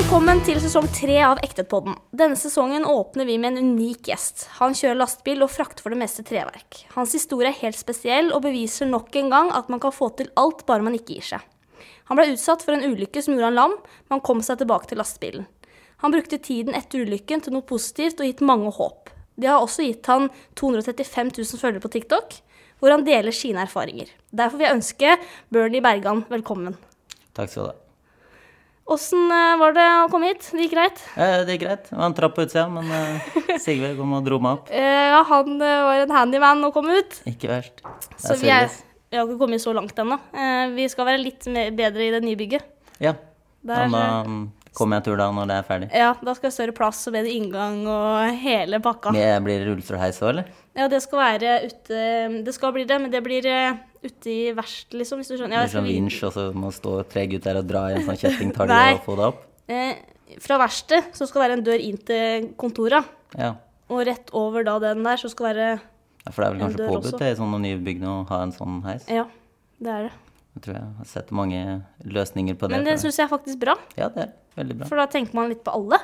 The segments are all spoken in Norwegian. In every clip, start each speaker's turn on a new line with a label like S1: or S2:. S1: Velkommen til sesong tre av Ektetpodden. Denne sesongen åpner vi med en unik gjest. Han kjører lastebil og frakter for det meste treverk. Hans historie er helt spesiell og beviser nok en gang at man kan få til alt bare man ikke gir seg. Han ble utsatt for en ulykke som gjorde han lam, men han kom seg tilbake til lastebilen. Han brukte tiden etter ulykken til noe positivt og gitt mange håp. Det har også gitt han 235 000 følgere på TikTok, hvor han deler sine erfaringer. Derfor vil jeg ønske Bernie Bergan velkommen.
S2: Takk skal du ha.
S1: Åssen eh, var det å komme hit? Det gikk greit?
S2: Eh, det gikk greit. Det var en trapp på utsida, men eh, Sigve kom og dro meg opp.
S1: Eh, Ja, han eh, var en handyman å komme ut.
S2: Ikke verst. Det
S1: Så
S2: er
S1: vi, er,
S2: service.
S1: vi har ikke kommet så langt ennå. Eh, Vi skal være litt mer, bedre i det nye bygget.
S2: Ja.
S1: Der-
S2: Men da mm, kommer jeg tur da når det er ferdig.
S1: Ja, Da skal det større plass og bedre inngang og hele pakka.
S2: Det Blir det rullestolheis òg, eller?
S1: Ja, det skal være ute Det skal bli det, men det blir eh, ute i verst, liksom, hvis du skjønner. Ja,
S2: Det
S1: jeg
S2: blir sånn
S1: skal
S2: vinsj, og så må stå tre gutter og dra i en sånn kjettingtalje
S1: Nei.
S2: og få deg opp?
S1: vi- eh, Fra verkstedet så skal det være en dør inn til kontora,
S2: Ja.
S1: og rett over da den der så skal være
S2: Ja, For det er vel
S1: En
S2: kanskje
S1: dør også.
S2: påbudt det i sånne nye bygg nå å ha en sånn heis?
S1: Ja, det er det.
S2: Jeg tror jeg har sett mange løsninger på det.
S1: Men det
S2: for det.
S1: syns jeg er faktisk bra,
S2: Ja, det er veldig bra.
S1: for da tenker man litt på alle.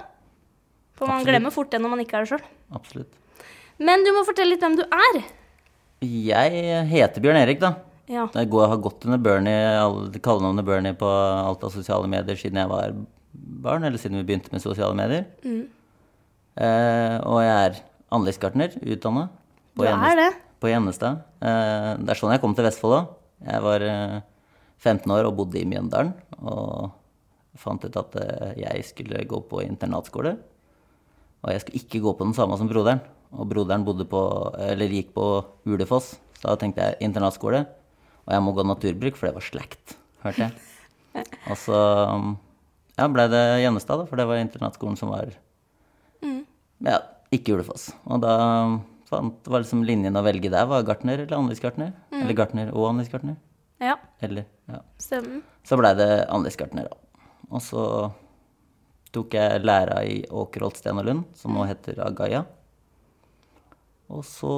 S1: For man
S2: Absolutt.
S1: glemmer fort det når man ikke er det sjøl.
S2: Absolutt.
S1: Men du må fortelle litt hvem du er.
S2: Jeg heter Bjørn Erik, da.
S1: Ja.
S2: Jeg går, har gått under Bernie, alle- kallenavnet Bernie på alt av sosiale medier siden jeg var barn, eller siden vi begynte med sosiale medier.
S1: Mm.
S2: Eh, og jeg er anleggsgartner, utdanna.
S1: Du er det.
S2: På Gjennestad. Eh, det er sånn jeg kom til Vestfold òg. Jeg var eh, 15 år og bodde i Mjøndalen. Og fant ut at eh, jeg skulle gå på internatskole. Og jeg skulle ikke gå på den samme som broderen. Og broderen bodde på, eller gikk på Ulefoss. Så da tenkte jeg internatskole. Og jeg må gå naturbruk, for det var slekt, hørte jeg. Og så ja, ble det Gjennestad, da, for det var internatskolen som var ja, ikke Ulefoss. Og da fant, var liksom linjen å velge der var gartner eller anleggsgartner. Eller gartner og anleggsgartner.
S1: Ja,
S2: Eller, ja.
S1: stemmer.
S2: Så blei det anleggsgartner, da. Og så tok jeg læra i Åkerholt Sten og Lund, som nå heter Agaya. Og så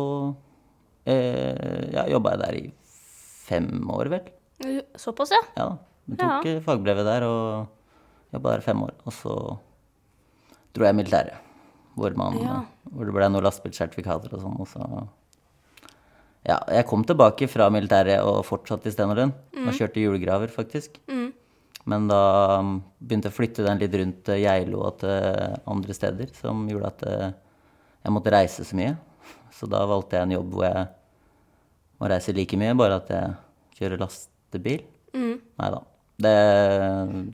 S2: eh, ja, jobba jeg der i fem år, vel.
S1: Jo, Såpass, ja.
S2: Ja da. Jeg tok eh, fagbrevet der og jobba der fem år. Og så dro jeg i militæret, hvor, man,
S1: Ja.
S2: hvor det ble noen lastebilsertifikater og sånn. Og så Ja, jeg kom tilbake fra militæret og fortsatte i Stenerlund. Og kjørte julegraver, faktisk. Men da mm, begynte jeg å flytte den litt rundt til Geilo og til eh, andre steder, som gjorde at eh, jeg måtte reise så mye. Så da valgte jeg en jobb hvor jeg må reise like mye, bare at jeg kjører lastebil.
S1: Mm,
S2: Nei da. Det,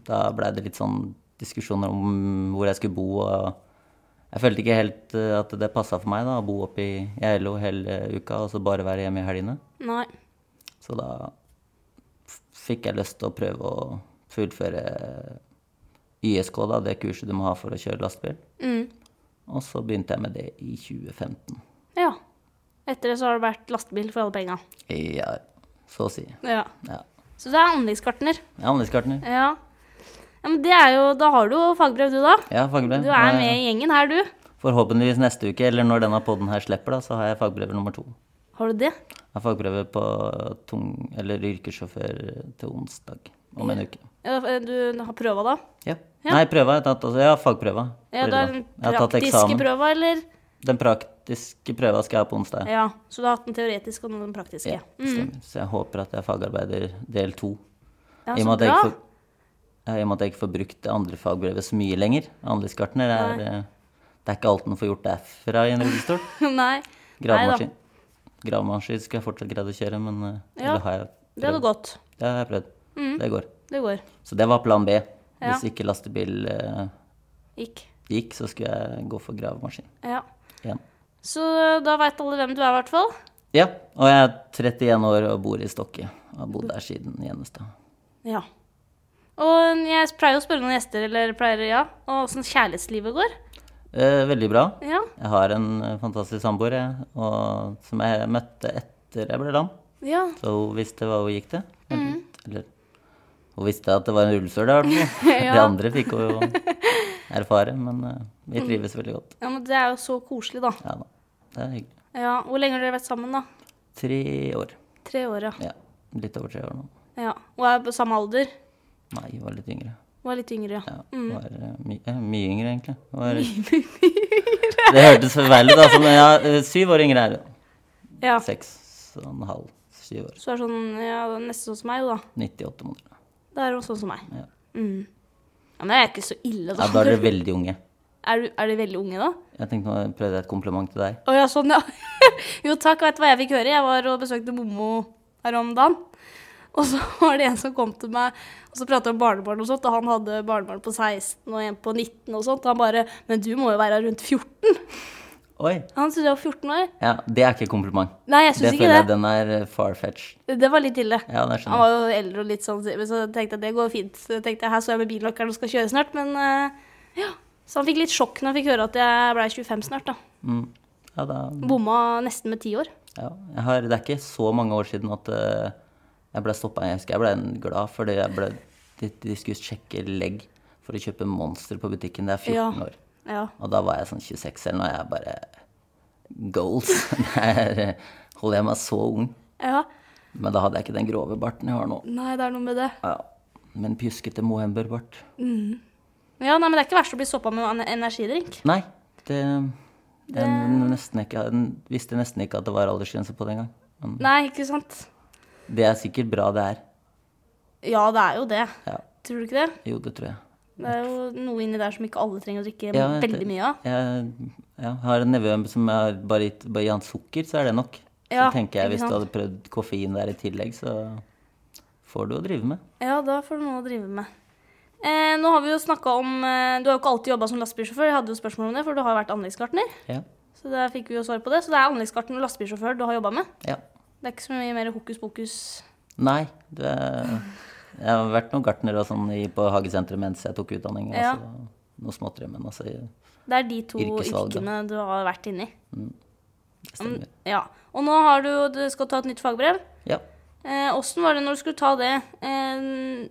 S2: da blei det litt sånn diskusjoner om hvor jeg skulle bo. og Jeg følte ikke helt eh, at det passa for meg da, å bo oppe i Geilo hele uka og så bare være hjemme i helgene.
S1: Nei.
S2: Så da f- fikk jeg lyst til å prøve å fullføre YSK, da, det kurset du må ha for å kjøre lastebil.
S1: Mm.
S2: Og så begynte jeg med det i 2015.
S1: Ja. Etter det så har det vært lastebil for alle penga.
S2: Ja, så å si.
S1: Ja.
S2: Ja.
S1: Så du er anleggsgartner.
S2: Jeg er anleggsgartner.
S1: Ja. ja. Men det er jo Da har du jo fagbrev, du, da.
S2: Ja, fagbrev.
S1: Du er
S2: Nå
S1: med i gjengen her, du.
S2: Forhåpentligvis neste uke, eller når denne podden her slipper, da, så har jeg fagbrev nummer to.
S1: Har du det?
S2: Jeg har fagbrevet på tung, eller yrkessjåfør til onsdag om en uke.
S1: Ja, Du har prøva, da?
S2: Ja. Nei, prøva har jeg tatt. Altså, ja, fagprøva.
S1: Ja, du
S2: Prøva.
S1: har den
S2: Jeg har tatt
S1: praktiske
S2: eksamen.
S1: prøva, eller?
S2: Den praktiske prøva skal jeg ha på onsdag.
S1: Ja. Så du har hatt den teoretiske og nå den praktiske. Mm,
S2: Ja, stemmer. Så jeg håper at jeg er fagarbeider del to.
S1: Ja,
S2: I og
S1: så
S2: med at jeg
S1: bra.
S2: ikke får- ja, i og med at jeg ikke får brukt det andre fagbrevet så mye lenger. Anleggsgartner er eh, Det er ikke alt en får gjort derfra i en rullestol.
S1: Nei. Nei da.
S2: Gravemaskin. Gravemaskin skulle jeg fortsatt greid å kjøre, men eh,
S1: Ja,
S2: eller har jeg,
S1: Det hadde gått.
S2: det har jeg prøvd. Det går.
S1: Det går.
S2: Så det var plan B.
S1: Ja.
S2: Hvis ikke lastebil eh,
S1: Gikk.
S2: gikk, så skulle jeg gå for gravemaskin
S1: Ja.
S2: igjen.
S1: Så eh, da veit alle hvem du er, i hvert fall.
S2: Ja, og jeg er 31 år og bor i Stokke. Har bodd der siden Gjennestad.
S1: Ja. Og mm, jeg pleier å spørre noen gjester, eller pleier ja, og åssen kjærlighetslivet går.
S2: Eh, veldig bra.
S1: Ja.
S2: Jeg har en eh, fantastisk samboer jeg, og, som jeg møtte etter jeg ble lam.
S1: ja.
S2: Så hun visste hva hun gikk til. Eller, eller hun visste at det var en rullestol der, i hvert fall. De
S1: Ja.
S2: andre fikk hun jo erfare, men eh, vi trives veldig godt.
S1: ja, men det er jo så koselig, da.
S2: Ja da. Det er hyggelig.
S1: Ja, Hvor lenge har dere vært sammen, da?
S2: Tre år.
S1: Tre år, ja.
S2: Ja. Litt over tre år nå.
S1: ja. Og er på samme alder?
S2: Nei, hun var litt yngre.
S1: Var litt yngre, ja.
S2: Ja, var eh, my eh, mye yngre, egentlig. Var, det hørtes forferdelig ut, altså, men ja, eh, syv år yngre er det.
S1: ja.
S2: Seks og en halv, syv år.
S1: Så er det sånn, ja, det er nesten sånn som meg, da.
S2: 98 måneder.
S1: Da er hun sånn som meg.
S2: Ja.
S1: Mm. Ja, men jeg er ikke så ille, da.
S2: Ja, da er dere veldig unge.
S1: Er, du, er de veldig unge, da?
S2: Jeg tenkte nå prøvde jeg et kompliment til deg.
S1: Å ja, sånn, ja. jo takk, vet du hva jeg fikk høre? Jeg var og besøkte Mommo her om dagen. Og så var det en som kom til meg og så pratet om barnebarn og sånt, og han hadde barnebarn på 16 og en på 19 og sånt. Og han bare 'Men du må jo være rundt 14'.
S2: Oi!
S1: Han syntes jeg var 14 år.
S2: Ja, det er ikke et kompliment.
S1: Nei, jeg
S2: Det
S1: syns ikke
S2: føler jeg
S1: det.
S2: den er eh, far-fetched.
S1: Det var litt ille.
S2: Ja,
S1: Han
S2: det skjønner jeg.
S1: var jo eldre og litt sånn, men så tenkte jeg det går fint. Så tenkte jeg, Her står jeg med bilnøkkelen og skal kjøre snart, men eh, ja. Så han fikk litt sjokk når han fikk høre at jeg blei 25 snart, da.
S2: Mm. Ja, da,
S1: Bomma nesten med ti år.
S2: ja. Jeg har, det er ikke så mange år siden at eh, jeg ble stoppa. Jeg husker jeg ble glad fordi jeg ble, de, de skulle sjekke legg for å kjøpe Monster på butikken. Det er 14
S1: Ja.
S2: år.
S1: Ja.
S2: Og da var jeg sånn 26 eller noe, og jeg bare Goals! Der holder jeg meg så ung.
S1: ja.
S2: Men da hadde jeg ikke den grove barten jeg har nå.
S1: Nei, det er noe med det.
S2: Ja. Men pjuskete mohenbørbart.
S1: Ja, nei, men Det er ikke verst å bli stoppa med en energidrink.
S2: Nei, det Jeg nesten ikke, jeg visste nesten ikke at det var aldersgrense på det engang. Men
S1: Nei, ikke sant?
S2: det er sikkert bra, det er.
S1: Ja, det er jo det.
S2: Ja.
S1: Tror du ikke det?
S2: Jo, det tror jeg.
S1: Det er jo noe inni der som ikke alle trenger å drikke
S2: Ja, jeg-
S1: veldig mye av.
S2: Jeg, ja, har en nevø som jeg har bare gitt bare gi han sukker, så er det nok. Så
S1: Ja,
S2: tenker jeg
S1: ikke
S2: hvis du
S1: sant?
S2: hadde prøvd koffein der i tillegg, så får du å drive med.
S1: Ja, da får du noe å drive med. Eh, nå har vi jo snakket om, eh, Du har jo ikke alltid jobba som lastebilsjåfør, jeg hadde jo spørsmål om det, for du har jo vært anleggsgartner.
S2: Ja.
S1: Så der fikk vi jo svar på det. Så det er anleggsgartner og lastebilsjåfør du har jobba med.
S2: ja.
S1: Det er ikke så mye mer hokus pokus.
S2: Nei, det, jeg har vært noen gartner og sånn i, på hagesenteret mens jeg tok utdanning. og
S1: Ja.
S2: så noe småtteri, men altså det
S1: Det er de to
S2: Yrkesvalg, da.
S1: yrkene du har vært inni.
S2: Mm. stemmer.
S1: Ja. Og nå har du, jo- du skal ta et nytt fagbrev.
S2: Ja.
S1: Eh, Åssen var det når du skulle ta det? Eh,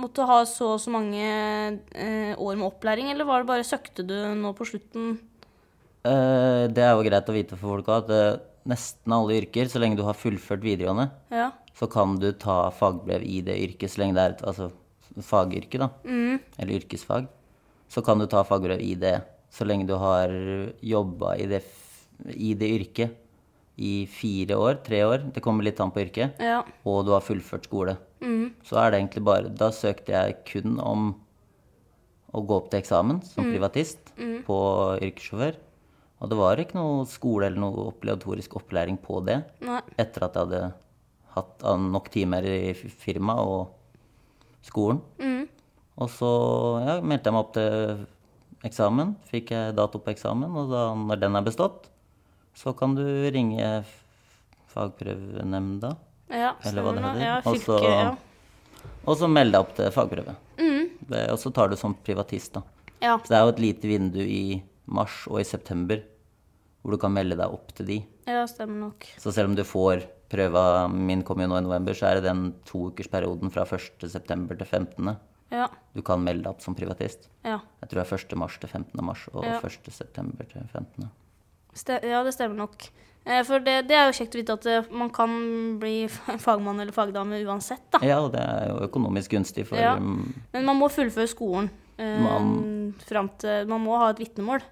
S1: måtte du ha så og så mange eh, år med opplæring, eller var det bare søkte du nå på slutten?
S2: Eh, det er jo greit å vite for folk også, at eh, nesten alle yrker, så lenge du har fullført videregående,
S1: Ja.
S2: så kan du ta fagbrev i det yrket, så lenge det er et altså, fagyrke, da. Eller yrkesfag. Så kan du ta fagbrev i det, så lenge du har jobba i det, f- i det yrket i fire år, tre år. Det kommer litt an på yrket.
S1: ja.
S2: og du har fullført skole. Så er det egentlig bare Da søkte jeg kun om å gå opp til eksamen som privatist på yrkessjåfør. Og det var ikke noe skole eller noe obligatorisk opplæring på det
S1: Nei.
S2: etter at jeg hadde hatt ah, nok timer i f- firmaet og skolen. Og så ja, meldte jeg meg opp til eksamen. Fikk jeg dato på eksamen, og da, når den er bestått, så kan du ringe f- fagprøvenemnda.
S1: Ja,
S2: Eller hva det
S1: stemmer Ja,
S2: heter. Altså, Og
S1: fylke,
S2: så-
S1: ja.
S2: Og så meld deg opp til fagprøve.
S1: Mm.
S2: Det, og så tar du som privatist, da.
S1: Ja.
S2: Så det er jo et lite vindu i mars og i september hvor du kan melde deg opp til de.
S1: ja, stemmer nok.
S2: Så selv om du får prøva min kommer jo nå i november, så er det den toukersperioden fra 1. september til 15.
S1: Ja.
S2: Du kan melde deg opp som privatist.
S1: Ja.
S2: Jeg tror det er 1. mars til 15. mars og
S1: Ja.
S2: 1. september til 15.
S1: Ste ja, det stemmer nok. Eh, for det, det er jo kjekt å vite at eh, man kan bli f- fagmann eller fagdame uansett, da.
S2: Ja, og det er jo økonomisk gunstig for
S1: Ja.
S2: mm,
S1: Men man må fullføre skolen. Eh,
S2: Man-
S1: fram til Man må ha et vitnemål.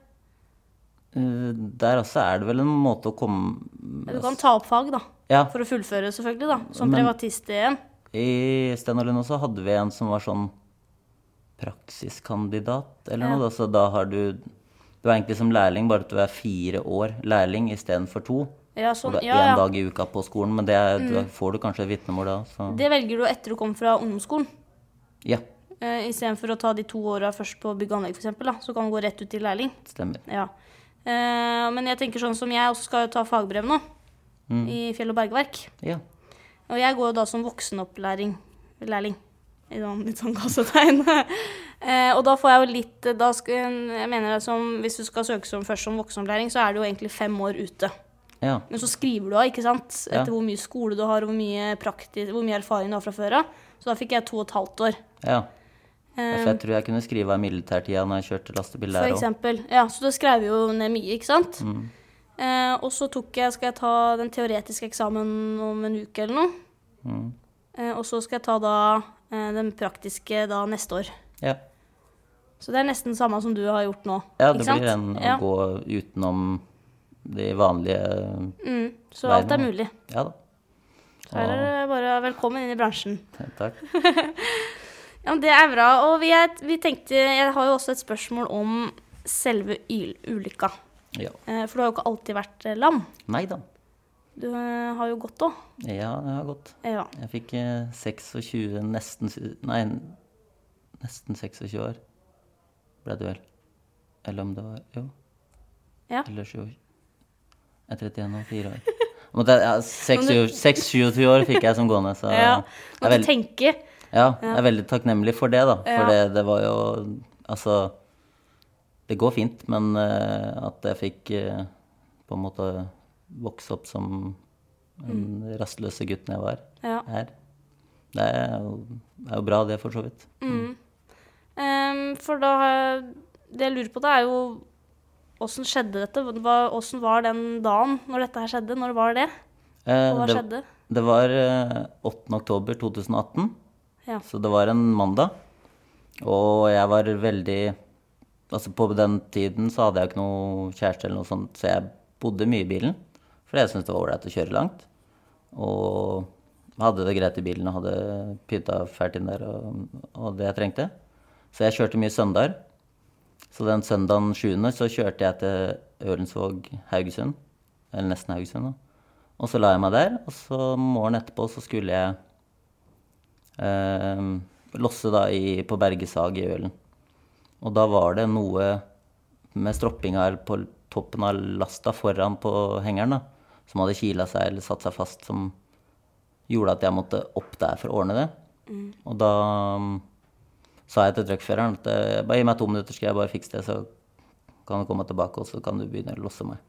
S2: eh, Der også er det vel en måte å komme
S1: Du kan ta opp fag, da.
S2: Ja,
S1: For å fullføre, selvfølgelig, da. Som
S2: Men-
S1: privatist igjen.
S2: I Stenerlund også hadde vi en som var sånn praksiskandidat eller noe. da, Så da har du Du er egentlig som lærling, bare at du er fire år lærling istedenfor to.
S1: Ja,
S2: Og
S1: sånn,
S2: du er
S1: ja, Mm.
S2: én
S1: ja.
S2: dag i uka på skolen, men det er, du, får du kanskje et vitnemål da. Så.
S1: Det velger du etter du kommer fra ungdomsskolen.
S2: Ja,
S1: Eh, Istedenfor å ta de to åra først på bygg og anlegg, f.eks., så kan du gå rett ut til lærling.
S2: stemmer.
S1: Ja. Eh, men jeg tenker sånn som jeg også skal jo ta fagbrev nå,
S2: Mm.
S1: i Fjell og bergverk.
S2: Ja.
S1: Og jeg går jo da som voksenopplæring. Lærling. I sånn, litt sånn kassetegn. eh, og da får jeg jo litt eh, da sk Jeg mener det som Hvis du skal søke som først som voksenopplæring, så er det jo egentlig fem år ute.
S2: ja.
S1: Men så skriver du av, ikke sant?
S2: Ja.
S1: Etter hvor mye skole du har, og hvor mye, prakti- hvor mye erfaring du har fra før av. Så da fikk jeg to og et halvt år.
S2: ja.
S1: Eh,
S2: For jeg tror jeg kunne skrive av militærtida når jeg kjørte
S1: For
S2: lastebil der Mm. òg.
S1: eksempel. Ja, så da skrev jeg jo ned mye, ikke sant? Eh, og så tok jeg, skal jeg ta den teoretiske eksamen om en uke
S2: Mm.
S1: eller noe. Eh, og så skal jeg ta da eh, den praktiske da neste år.
S2: Ja,
S1: Så det er nesten samme som du har gjort nå.
S2: ja
S1: ikke
S2: det
S1: sant?
S2: blir en å
S1: ja.
S2: gå utenom de vanlige
S1: Mm, så alt er
S2: veien,
S1: mulig.
S2: Ja da.
S1: Så her er det bare velkommen inn i bransjen.
S2: Og, takk.
S1: Ja, men Det er bra. Og vi, er, vi tenkte Jeg har jo også et spørsmål om selve yl- ulykka.
S2: Ja.
S1: Eh, For du har jo ikke alltid vært eh, lam.
S2: Nei da.
S1: Du eh, har jo gått òg.
S2: Ja, det har gått.
S1: Ja.
S2: Jeg fikk eh, 26, nesten sy- Nei, nesten 26 år ble det vel. Eller om det var Jo.
S1: Ja.
S2: Eller 27 Jeg er 31 og 4 år. Måtte jeg- Ja, 6-27 år fikk jeg som gående, så
S1: ja.
S2: jeg, er
S1: Må du
S2: veldig,
S1: tenke.
S2: ja, jeg er veldig takknemlig for det, da. For
S1: Ja.
S2: det, det var jo Altså, det går fint, men eh, at jeg fikk eh, på en måte vokse opp som den
S1: Mm.
S2: rastløse gutten jeg var
S1: Ja.
S2: her. Det er jo, er jo bra, det, for så vidt.
S1: Ehm, mm. for da har- Det jeg lurer på, det er jo åssen skjedde dette? Hva- Åssen var den dagen når dette her skjedde? Når var det?
S2: Eh,
S1: Og hva
S2: det,
S1: skjedde?
S2: det var eh, 8. oktober 2018,
S1: Ja.
S2: så det var en mandag. Og jeg var veldig Altså, på den tiden så hadde jeg ikke noe kjæreste eller noe sånt, så jeg bodde mye i bilen. For jeg syntes det var ålreit å kjøre langt. Og hadde det greit i bilen og hadde pynta fælt inn der og, og det jeg trengte. Så jeg kjørte mye søndager. Så den søndagen 7. så kjørte jeg til Ølensvåg, Haugesund. Eller nesten Haugesund, da. Og så la jeg meg der, og så morgenen etterpå så skulle jeg eh, losse da i, på Bergesag i Ølen. Og da var det noe med stroppinga på toppen av lasta foran på hengeren, da, som hadde kila seg eller satt seg fast, som gjorde at jeg måtte opp der for å ordne det. Og da mm, sa jeg til truckføreren at eh, bare gi meg to minutter, skal jeg bare fikse det, så kan du komme tilbake, og så kan du begynne å losse meg.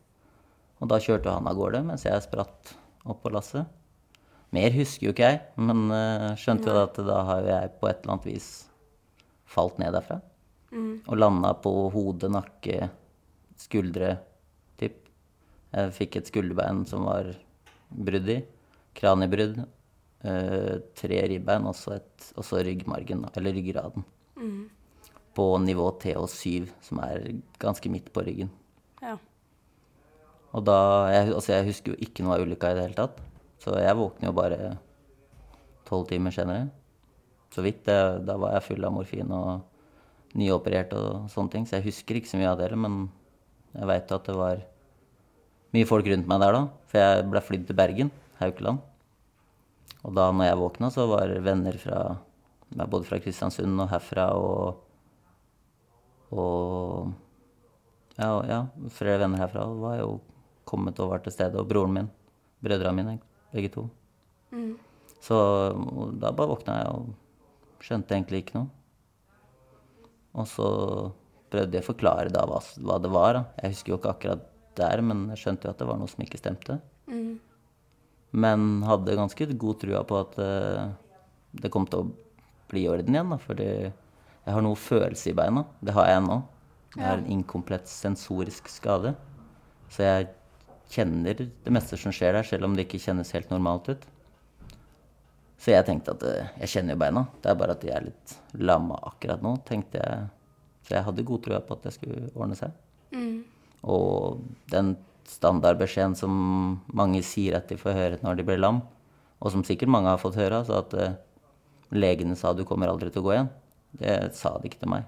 S2: Og da kjørte han av gårde mens jeg spratt opp på lasset. Mer husker jo ikke jeg, men eh, skjønte jo da at da har jo jeg på et eller annet vis falt ned derfra. Og landa på hode, nakke, skuldre, tipp. Jeg fikk et skulderbein som var brudd i. Kraniebrudd. eh, tre ribbein og så et- og så ryggmargen, da, eller ryggraden. På nivå TH7, som er ganske midt på ryggen.
S1: Ja.
S2: Og da, jeg, altså jeg husker jo ikke noe av ulykka i det hele tatt. Så jeg våkner jo bare tolv timer senere. Så vidt. Det, da var jeg full av morfin og nyoperert og sånne ting. Så jeg husker ikke så mye av det, men jeg veit jo at det var mye folk rundt meg der da. For jeg ble flydd til Bergen, Haukeland. Og da når jeg våkna, så var venner fra ja, både fra Kristiansund og herfra og og ja, og- ja, flere venner herfra var jo kommet og var til stede. Og broren min. Brødrene mine, begge to. Så og da bare våkna jeg og skjønte egentlig ikke noe. Og så prøvde jeg å forklare da hva, s- hva det var. Da. Jeg husker jo ikke akkurat der, men jeg skjønte jo at det var noe som ikke stemte. Men hadde ganske god trua på at eh, det kom til å bli i orden igjen, da, fordi jeg har noe følelse i beina. Det har jeg ennå. Jeg har en inkomplett sensorisk skade. Så jeg kjenner det meste som skjer der, selv om det ikke kjennes helt normalt ut. Så jeg tenkte at eh, jeg kjenner jo beina, det er bare at de er litt lamma akkurat nå, tenkte jeg. Så jeg hadde god trua på at det skulle ordne seg.
S1: Mm.
S2: Og den standardbeskjeden som mange sier at de får høre når de blir lam, og som sikkert mange har fått høre, altså at eh, legene sa du kommer aldri til å gå igjen, det sa de ikke til meg.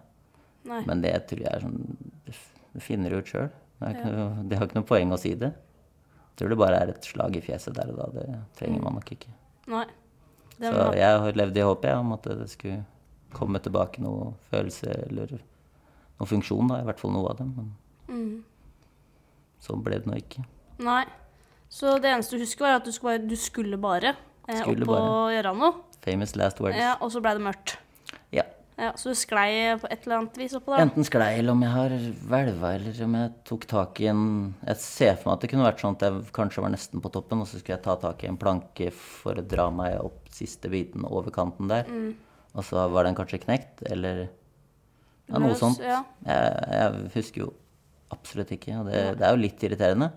S1: Nei.
S2: Men det tror jeg er sånn Du f- du finner det ut sjøl. Det, er ikke noe- det har ikke noe poeng å si det. Jeg tror det bare er et slag i fjeset der og da. Det trenger man nok ikke.
S1: Nei. Det
S2: Så
S1: var,
S2: jeg har levd i håpet jeg, om at det skulle komme tilbake noe følelse eller noe funksjon, da, i hvert fall noe av det. Men
S1: Mm.
S2: så ble det nå ikke.
S1: nei. Så det eneste du husker, var at du skulle bare, du skulle bare eh,
S2: Skulle
S1: opp og gjøre noe.
S2: Famous last words.
S1: Ja, og så blei det mørkt.
S2: Ja.
S1: Ja, så du sklei på et eller annet vis oppå der. da.
S2: Enten sklei, eller om jeg har hvelva, eller om jeg tok tak i en Jeg ser for meg at det kunne vært sånn at jeg kanskje var nesten på toppen, og så skulle jeg ta tak i en planke for å dra meg opp siste biten over kanten
S1: Mm.
S2: der. Og så var den kanskje knekt, eller ja, noe
S1: Løs,
S2: sånt.
S1: ja.
S2: Jeg, jeg husker jo absolutt ikke, og det, det er jo litt irriterende.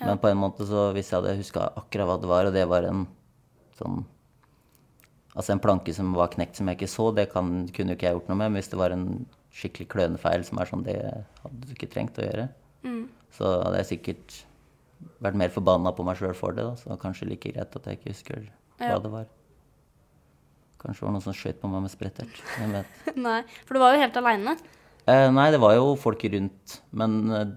S2: Men på en måte så hvis jeg hadde huska akkurat hva det var, og det var en sånn Altså en planke som var knekt som jeg ikke så, det kan, kunne jo ikke jeg gjort noe med. Men hvis det var en skikkelig klønefeil som er sånn, det hadde du ikke trengt å gjøre.
S1: Mm.
S2: Så hadde jeg sikkert vært mer forbanna på meg sjøl for det, da. Så det var kanskje like greit at jeg ikke husker hva
S1: Ja.
S2: det var. Kanskje det var noen som skjøt på meg med sprettert. Hvem vet.
S1: Nei, for du var jo helt aleine.
S2: Eh, nei, det var jo folk rundt, men eh,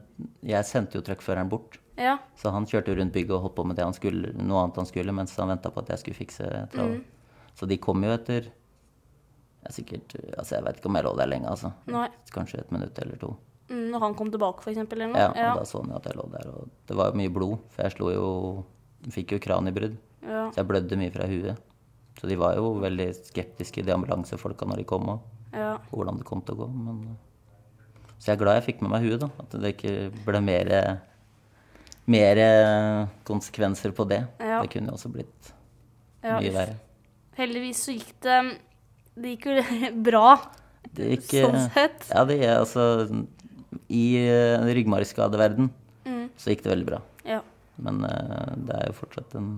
S2: jeg sendte jo truckføreren bort.
S1: Ja.
S2: Så han kjørte jo rundt bygget og holdt på med det han skulle, noe annet han skulle, mens han venta på at jeg skulle fikse travet. Så de kom jo etter jeg, er sikkert, altså jeg vet ikke om jeg lå der lenge, altså.
S1: Nei.
S2: Kanskje et minutt eller to.
S1: Mm, Når han kom tilbake, f.eks. Eller noe.
S2: Ja, og da så han jo at jeg lå der. Og det var jo mye blod, for jeg slo jo Fikk jo kraniebrudd.
S1: ja.
S2: Så jeg blødde mye fra huet. Så de var jo veldig skeptiske, de ambulansefolka, når de kom òg
S1: ja.
S2: på hvordan det kom til å gå. Men... eh, Så jeg er glad jeg fikk med meg huet, da. At det ikke ble mer, mer konsekvenser på det.
S1: Ja.
S2: Det kunne jo også blitt
S1: Ja,
S2: mye
S1: uff.
S2: verre.
S1: Heldigvis så gikk det mm, Det gikk jo bra.
S2: Det er ikke-
S1: Sånn sett.
S2: Ja, det er altså I eh, ryggmargskadeverden så gikk det veldig bra.
S1: Mm, Ja.
S2: Men eh, det er jo fortsatt en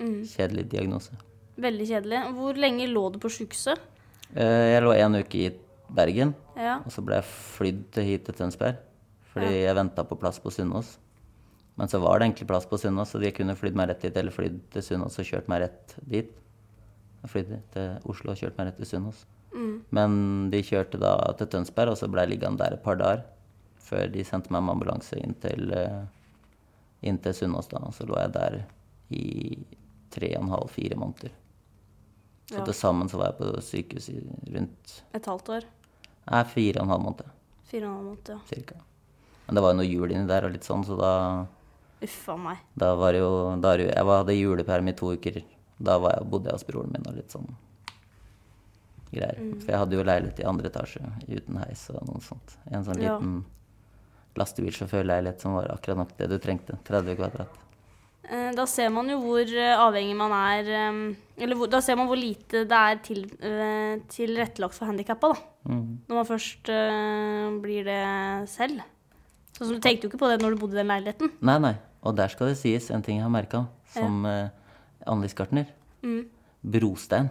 S1: Mm.
S2: kjedelig diagnose.
S1: Veldig kjedelig. Hvor lenge lå du på sjukehuset?
S2: Eh, jeg lå en uke i Bergen,
S1: Ja.
S2: og så ble jeg flydd til hit til Tønsberg. Fordi jeg venta på plass på Sunnaas. Men så var det egentlig plass på Sunnaas, så de kunne flydd meg rett dit. Eller flydd til Sunnaas og kjørt meg rett dit. Jeg flydde til Oslo og kjørte meg rett til Sunnaas.
S1: mm,
S2: Men de kjørte da til Tønsberg, og så ble jeg liggende der et par dager. Før de sendte meg med ambulanse inn til, eh, inn til Sunnaas, da. Og så lå jeg der i tre og en halv, fire måneder. Så
S1: Ja.
S2: til sammen så var jeg på sykehus i rundt
S1: Et halvt år.
S2: Nei, fire og en halv måned,
S1: Fire og en halv måned. Ja.
S2: cirka. Men det var jo noe jul inni der og litt sånn, så da,
S1: Uff a meg.
S2: da var det jo da, er det jo- Jeg var- hadde juleperm i to uker. Da var jeg, bodde jeg hos broren min og litt sånn greier. For jeg hadde jo leilighet i andre etasje uten heis og noe sånt. En sånn
S1: Ja.
S2: liten lastebilsjåførleilighet som var akkurat nok det du trengte. 30 kvadrat.
S1: Eh, Da ser man jo hvor eh, avhengig man er eh, Eller hvor, da ser man hvor lite det er til, eh, tilrettelagt for handikappa, da.
S2: Mhm.
S1: Når man først eh, blir det selv. Sånn som Du tenkte jo ikke på det når du bodde i den leiligheten.
S2: Nei, nei. Og der skal det sies en ting jeg har merka, som eh, anleggsgartner.
S1: Mm.
S2: Brostein.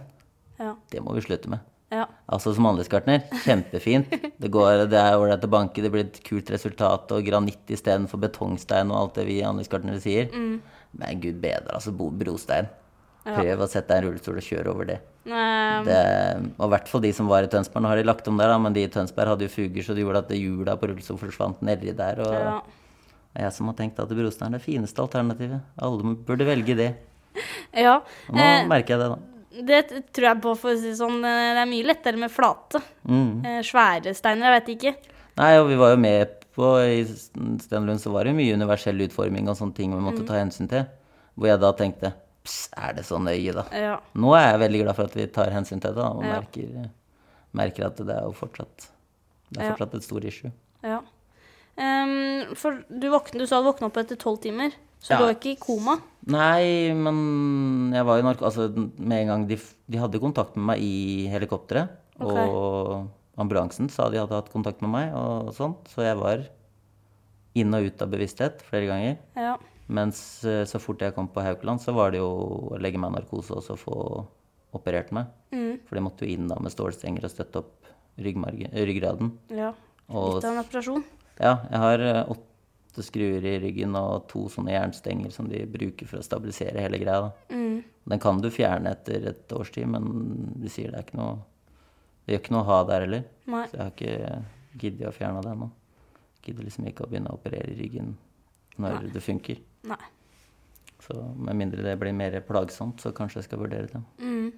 S1: Ja.
S2: Det må vi slutte med.
S1: ja. Eh,
S2: Altså som anleggsgartner, kjempefint. Det, går, det er ålreit å banke, det blir et kult resultat, og granitt istedenfor betongstein og alt det vi anleggsgartnere sier.
S1: Mm.
S2: Men gud bedre, altså bo brostein. Prøv å sette deg i en rullestol og kjøre over det.
S1: Eh,
S2: det og i hvert fall de som var i Tønsberg. Nå har de lagt om der, da, men de i Tønsberg hadde jo fuger, så det gjorde at hjula på rullestol forsvant nedi der. Og
S1: ja.
S2: det er jeg som har tenkt at brostein er det fineste alternativet. Alle burde velge det.
S1: ja.
S2: Og nå
S1: Eh,
S2: merker jeg det, da.
S1: Det t- tror jeg på, for å si det sånn. eh, Det er mye lettere med flate.
S2: Mm.
S1: Eh, Svære steiner, jeg vet ikke.
S2: Nei, og vi var jo med på I Stenlund så var det mye universell utforming og sånne ting vi
S1: Mm.
S2: måtte ta hensyn til. Hvor jeg da tenkte Pss, er det så nøye, da?
S1: Ja.
S2: Nå er jeg veldig glad for at vi tar hensyn til det, da, og
S1: Ja.
S2: merker, merker at det er jo fortsatt Det er
S1: Ja.
S2: fortsatt et stort issue.
S1: ja. Ehm, for du, våkne, du sa du våkna opp etter tolv timer, så
S2: Ja.
S1: du lå ikke i koma.
S2: Nei, men jeg var jo narko... Altså, med en gang de, f- de hadde kontakt med meg i helikopteret, og ambulansen sa de hadde hatt kontakt med meg, og sånt, så jeg var inn og ut av bevissthet flere ganger.
S1: Ja.
S2: Mens eh, så fort jeg kom på Haukeland, så var det jo å legge meg i narkose og så få operert meg.
S1: Mm.
S2: For de måtte jo inn da med stålstenger og støtte opp ryggmargen, eh, ryggraden.
S1: ja.
S2: Og
S1: Litt av en operasjon.
S2: ja, jeg har eh, åtte skruer i ryggen og to sånne jernstenger som de bruker for å stabilisere hele greia. da.
S1: Mm,
S2: Den kan du fjerne etter et års tid, men de sier det er ikke noe Det gjør ikke noe å ha der heller.
S1: Nei.
S2: Så jeg har ikke giddet å fjerne det ennå. Gidder liksom ikke å begynne å operere i ryggen når det funker.
S1: Nei.
S2: Så med mindre det blir mer plagsomt, så kanskje jeg skal vurdere det.
S1: Mm,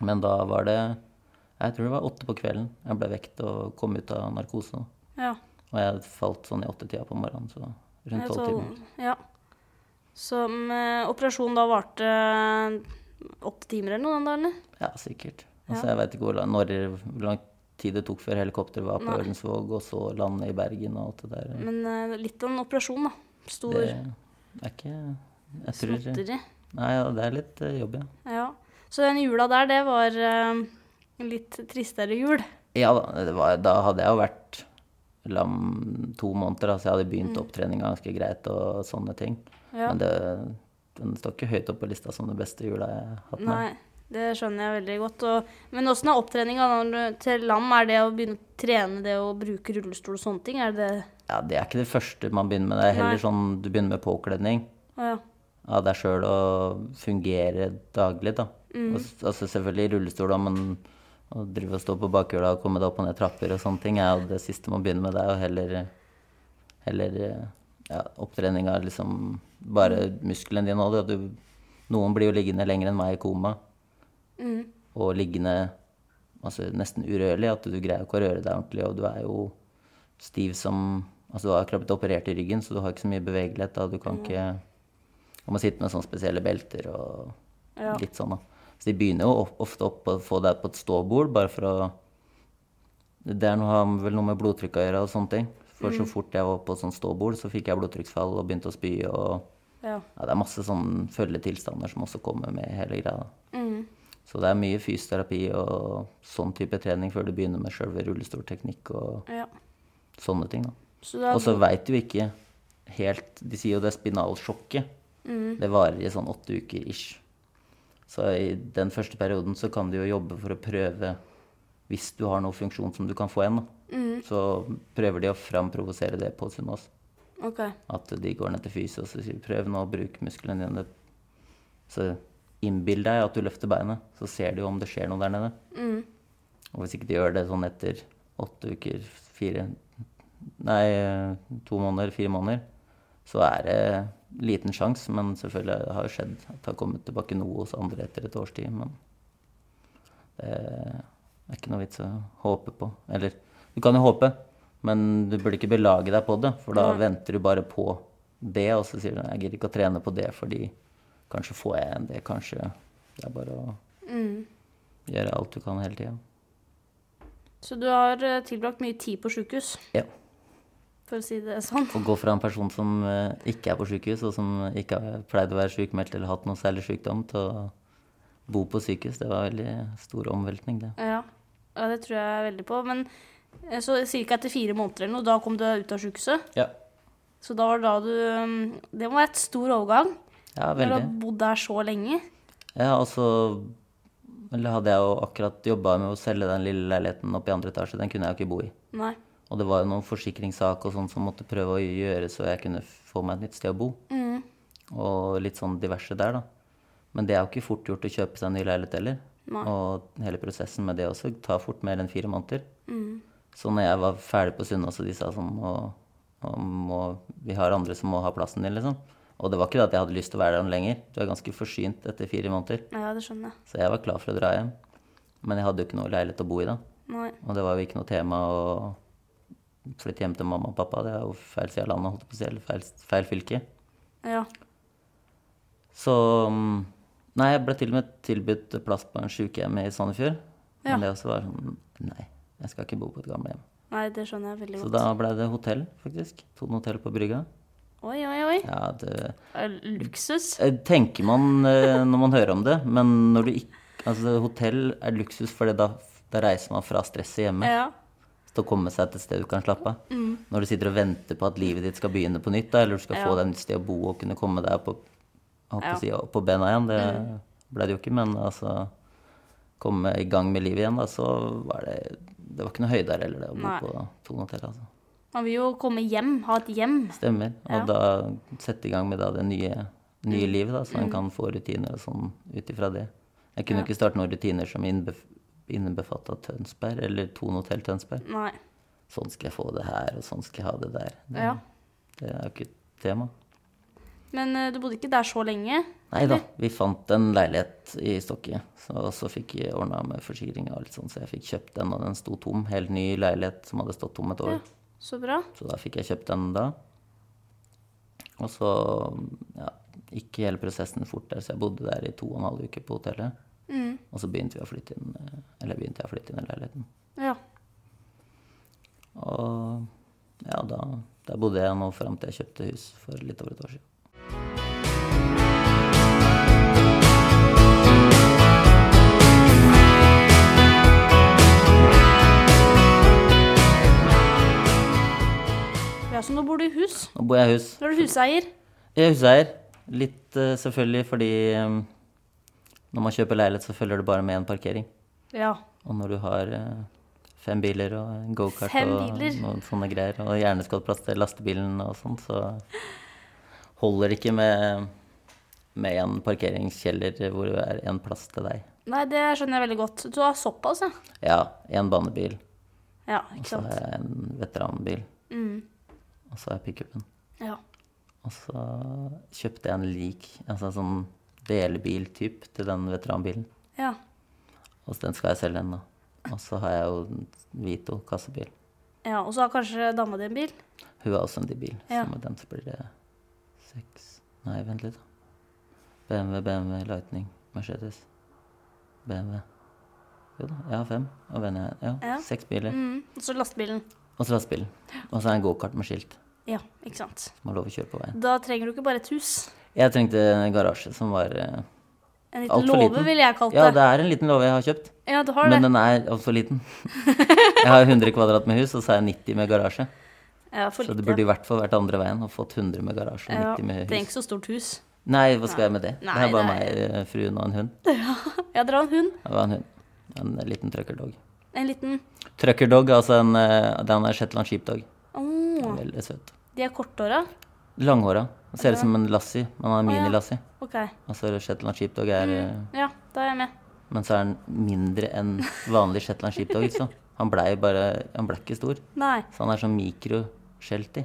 S2: Men da var det Jeg tror det var åtte på kvelden. Jeg ble vekt og kom ut av narkose.
S1: Ja.
S2: Og jeg falt sånn i åttetida på morgenen, så rundt
S1: Jeg
S2: tolv
S1: tolv-
S2: timer.
S1: Ja. Så mm, operasjonen da varte eh, åtte timer eller noe den dagen? eller?
S2: Ja, sikkert. Altså, jeg veit ikke hvor lang, når, hvor lang tid det tok før helikopteret var på Ørensvåg, og så landet i Bergen og alt det der.
S1: Men eh, litt av en operasjon, da. Stor
S2: Det er ikke Jeg tror
S1: snotteri.
S2: Nei, ja, det er litt eh, jobb, ja.
S1: Ja. Så den jula der, det var eh, en litt tristere jul.
S2: Ja da, det var, da hadde jeg jo vært lam to måneder, altså jeg hadde begynt opptreninga ganske greit og sånne ting.
S1: Mm. Ja. Mm.
S2: Men det, den står ikke høyt opp på lista som den beste jula jeg har hatt med.
S1: Nei. Det skjønner jeg veldig godt. Og, men åssen er opptreninga til lam? Er det å begynne å trene det å bruke rullestol og sånne ting? Er det
S2: Ja, det er ikke det første man begynner med. Det er heller
S1: Nei.
S2: sånn du begynner med påkledning
S1: Å ja.
S2: av deg sjøl og fungere daglig, da. Og, s- altså selvfølgelig rullestol, da, men å drive og stå på bakhjula og komme deg opp og ned trapper og sånne ting er jo det siste man begynner med. Det er jo heller, heller ja, opptrening av liksom bare muskelen din òg. Noen blir jo liggende lenger enn meg i koma.
S1: Mm,
S2: Og liggende altså nesten urørlig, at du greier ikke å røre deg ordentlig, og du er jo stiv som Altså du har akkurat blitt operert i ryggen, så du har ikke så mye bevegelighet da. Du kan ikke Du må sitte med sånne spesielle belter og
S1: Ja.
S2: litt sånn, da. Så de begynner jo of- ofte opp å få deg på et ståbord, bare for å Det er noe, har vel noe med blodtrykk å gjøre og sånne ting. For så fort jeg var på et sånt ståbord, så fikk jeg blodtrykksfall og begynte å spy og
S1: ja.
S2: ja, Det er masse sånne følgetilstander som også kommer med hele greia. da.
S1: Mm.
S2: Så det er mye fysioterapi og sånn type trening før du begynner med sjølve rullestolteknikk og
S1: ja.
S2: sånne ting. da.
S1: Så det
S2: Og
S1: er,
S2: så veit du ikke helt De sier jo det spinalsjokket.
S1: Mm,
S2: Det varer i sånn åtte uker ish. Så i den første perioden så kan du jo jobbe for å prøve Hvis du har noe funksjon som du kan få igjen, da.
S1: mm,
S2: Så prøver de å framprovosere det på Sunnaas.
S1: ok.
S2: At de går ned til fysio og så sier prøv nå å bruke musklene dine. Så innbill deg at du løfter beinet, så ser du jo om det skjer noe der nede.
S1: Mm,
S2: Og hvis ikke de gjør det sånn etter åtte uker, fire Nei, eh, to måneder, fire måneder, så er det liten sjanse. Men selvfølgelig det har jo skjedd at det har kommet tilbake noe hos andre etter et års tid. Men det er ikke noe vits å håpe på. Eller du kan jo håpe, men du burde ikke belage deg på det. For da venter du bare på det, og så sier du 'jeg gidder ikke å trene på det fordi kanskje får jeg igjen det', kanskje. Det er bare å
S1: mm.
S2: gjøre alt du kan hele tida.
S1: Så du har eh, tilbrakt mye tid på sjukehus,
S2: Ja.
S1: for å si det sånn?
S2: Å gå fra en person som eh, ikke er på sykehus, og som ikke har pleid å være sykmeldt eller hatt noe særlig sykdom, til å bo på sykehus, det var en veldig stor omveltning, det.
S1: Ja. ja, det tror jeg veldig på. Men eh, så ca. etter fire måneder eller noe, da kom du deg ut av sjukehuset.
S2: Ja,
S1: Så da var det da du mm, Det må være et stor overgang.
S2: ja
S1: Når du
S2: veldig.
S1: har bodd der så lenge.
S2: Ja, altså Eller hadde jeg jo akkurat jobba med å selge den lille leiligheten opp i andre etasje. Den kunne jeg jo ikke bo i.
S1: Nei.
S2: Og det var jo noen forsikringssak og sånn som måtte prøve å gjøre så jeg kunne få meg et nytt sted å bo.
S1: Mm.
S2: Og litt sånn diverse der, da. Men det er jo ikke fort gjort å kjøpe seg en ny leilighet heller.
S1: Nei.
S2: Og hele prosessen med det også tar fort mer enn fire måneder. Så når jeg var ferdig på Sunnaas, og de sa sånn og, og må, Vi har andre som må ha plassen din, liksom. Og det var ikke det at jeg hadde lyst til å være der lenger. Du er ganske forsynt etter fire måneder.
S1: Ja, det skjønner jeg.
S2: Så jeg var klar for å dra hjem. Men jeg hadde jo ikke noe leilighet å bo i da.
S1: Nei.
S2: Og det var jo ikke noe tema å flytte hjem til mamma og pappa. Det er jo feil side av landet, holdt jeg på å si, eller feil, feil fylke.
S1: Ja.
S2: Så mm, Nei, jeg ble til og med tilbudt plass på en sykehjem i Sandefjord.
S1: Ja.
S2: Men det også var sånn Nei, jeg skal ikke bo på et gamlehjem.
S1: Nei, det skjønner jeg veldig
S2: Så
S1: godt.
S2: da ble det hotell, faktisk. Ton hotell på Brygga.
S1: Oi, oi, oi.
S2: Ja, det
S1: Er det Luksus.
S2: Eh, tenker man eh, når man hører om det, men når du ikke Altså, hotell er luksus, for da, da reiser man fra stresset hjemme.
S1: Ja.
S2: til å komme seg til et sted du kan slappe av. Når du sitter og venter på at livet ditt skal begynne på nytt, da, eller du skal
S1: Mm.
S2: få
S1: Ja.
S2: deg et nytt sted å bo og kunne komme deg på, jeg holdt på
S1: Ja. Mm.
S2: å si, opp på bena igjen, det ble det jo ikke, men altså komme i gang med livet igjen, da, så var det Det var ikke noe høyder heller, det å bo
S1: Nei.
S2: på Thon hotell, altså.
S1: Man vil jo komme hjem, ha et hjem.
S2: Stemmer.
S1: Ja. Mm.
S2: Og da sette i gang med da, det nye, nye livet, da, så en kan få rutiner og sånn ut ifra det. Jeg kunne ikke starte noen rutiner som innbef innebefatta Tønsberg, eller Thon hotell Tønsberg
S1: Nei.
S2: sånn skal jeg få det her, og sånn skal jeg ha det der. Det,
S1: Ja.
S2: det er jo ikke et tema.
S1: Men eh, du bodde ikke der så lenge.
S2: Nei da, vi fant en leilighet i Stokke, så, og så fikk jeg ordna med forsikring og alt sånt, så jeg fikk kjøpt den, og den sto tom. Helt ny leilighet som hadde stått tom et år.
S1: Ja. Så bra.
S2: Så da fikk jeg kjøpt den da. Og så ja, gikk hele prosessen fort der, så jeg bodde der i to og en halv uke på hotellet.
S1: Mm.
S2: Og så begynte vi å flytte inn, eh, eller begynte jeg å flytte inn i leiligheten.
S1: Ja.
S2: Og ja, da, der bodde jeg nå fram til jeg kjøpte hus for litt over et år siden.
S1: Ja, Så nå bor du i hus.
S2: Nå bor jeg i hus.
S1: Nå er du huseier.
S2: Jeg er huseier. Litt eh, selvfølgelig fordi eh, Når man kjøper leilighet, så følger det bare med en parkering.
S1: Ja.
S2: Og når du har eh, fem biler og en gokart
S1: Fem
S2: og
S1: biler?
S2: noen sånne greier, og gjerne skal plass til lastebilen og sånn, så holder det ikke med, med en parkeringskjeller hvor det er en plass til deg.
S1: Nei, det skjønner jeg veldig godt. Du har såpass, ja.
S2: Ja, en banebil,
S1: Ja, ikke
S2: så
S1: sant. Mm.
S2: har jeg en veteranbil, og så har jeg pickupen.
S1: Ja.
S2: Og så kjøpte jeg en lik, altså en sånn delebil-typ til den veteranbilen.
S1: ja.
S2: Og så den skal jeg selge ennå. Og så har jeg jo en Vito kassebil.
S1: Ja, Og så har kanskje dama di en bil?
S2: Hun har også en bil,
S1: Ja.
S2: så med den så blir det seks Nei, vent litt, da. BMW, BMW, Lightning, Mercedes. BMW. Jo da, jeg har fem. Og venner jeg Ja,
S1: Ja.
S2: seks biler.
S1: Mm. Og så lastebilen.
S2: Og så lastebilen. Og så er det en gokart med skilt
S1: Ja, ikke sant.
S2: som har lov å kjøre på veien.
S1: Da trenger du ikke bare et hus.
S2: Jeg trengte en garasje som var eh,
S1: En liten
S2: altfor liten.
S1: låve, ville jeg kalt det.
S2: Ja, det er en liten låve jeg har kjøpt,
S1: Ja, du har det.
S2: men den er altfor liten. Jeg har 100 kvadrat med hus, og så er jeg 90 med garasje.
S1: ja, for
S2: Så
S1: lite.
S2: det burde i hvert fall vært andre veien og fått 100 med garasje og
S1: ja,
S2: 90 med
S1: Det er
S2: hus.
S1: ikke så stort hus.
S2: Nei, hva skal jeg med det?
S1: Nei,
S2: det er
S1: det
S2: bare meg, eh, fruen og en hund.
S1: Ja, dere har en hund.
S2: Det var en hund. En eh, liten truckerdog.
S1: En liten
S2: Truckerdog, altså en, eh, den er Shetland sheepdog.
S1: Åh,
S2: Veldig søt.
S1: De er korthåra?
S2: Langhåra. Ser ut som en lassie, men han er
S1: Å, ja. Mm.
S2: mini-lassie.
S1: OK.
S2: Altså Shetland sheepdog er eh,
S1: Ja, da er jeg med.
S2: Men så er han mindre enn vanlig Shetland sheepdog, så han blei bare Han blei ikke stor.
S1: Nei.
S2: Så han er sånn mikro-shelty.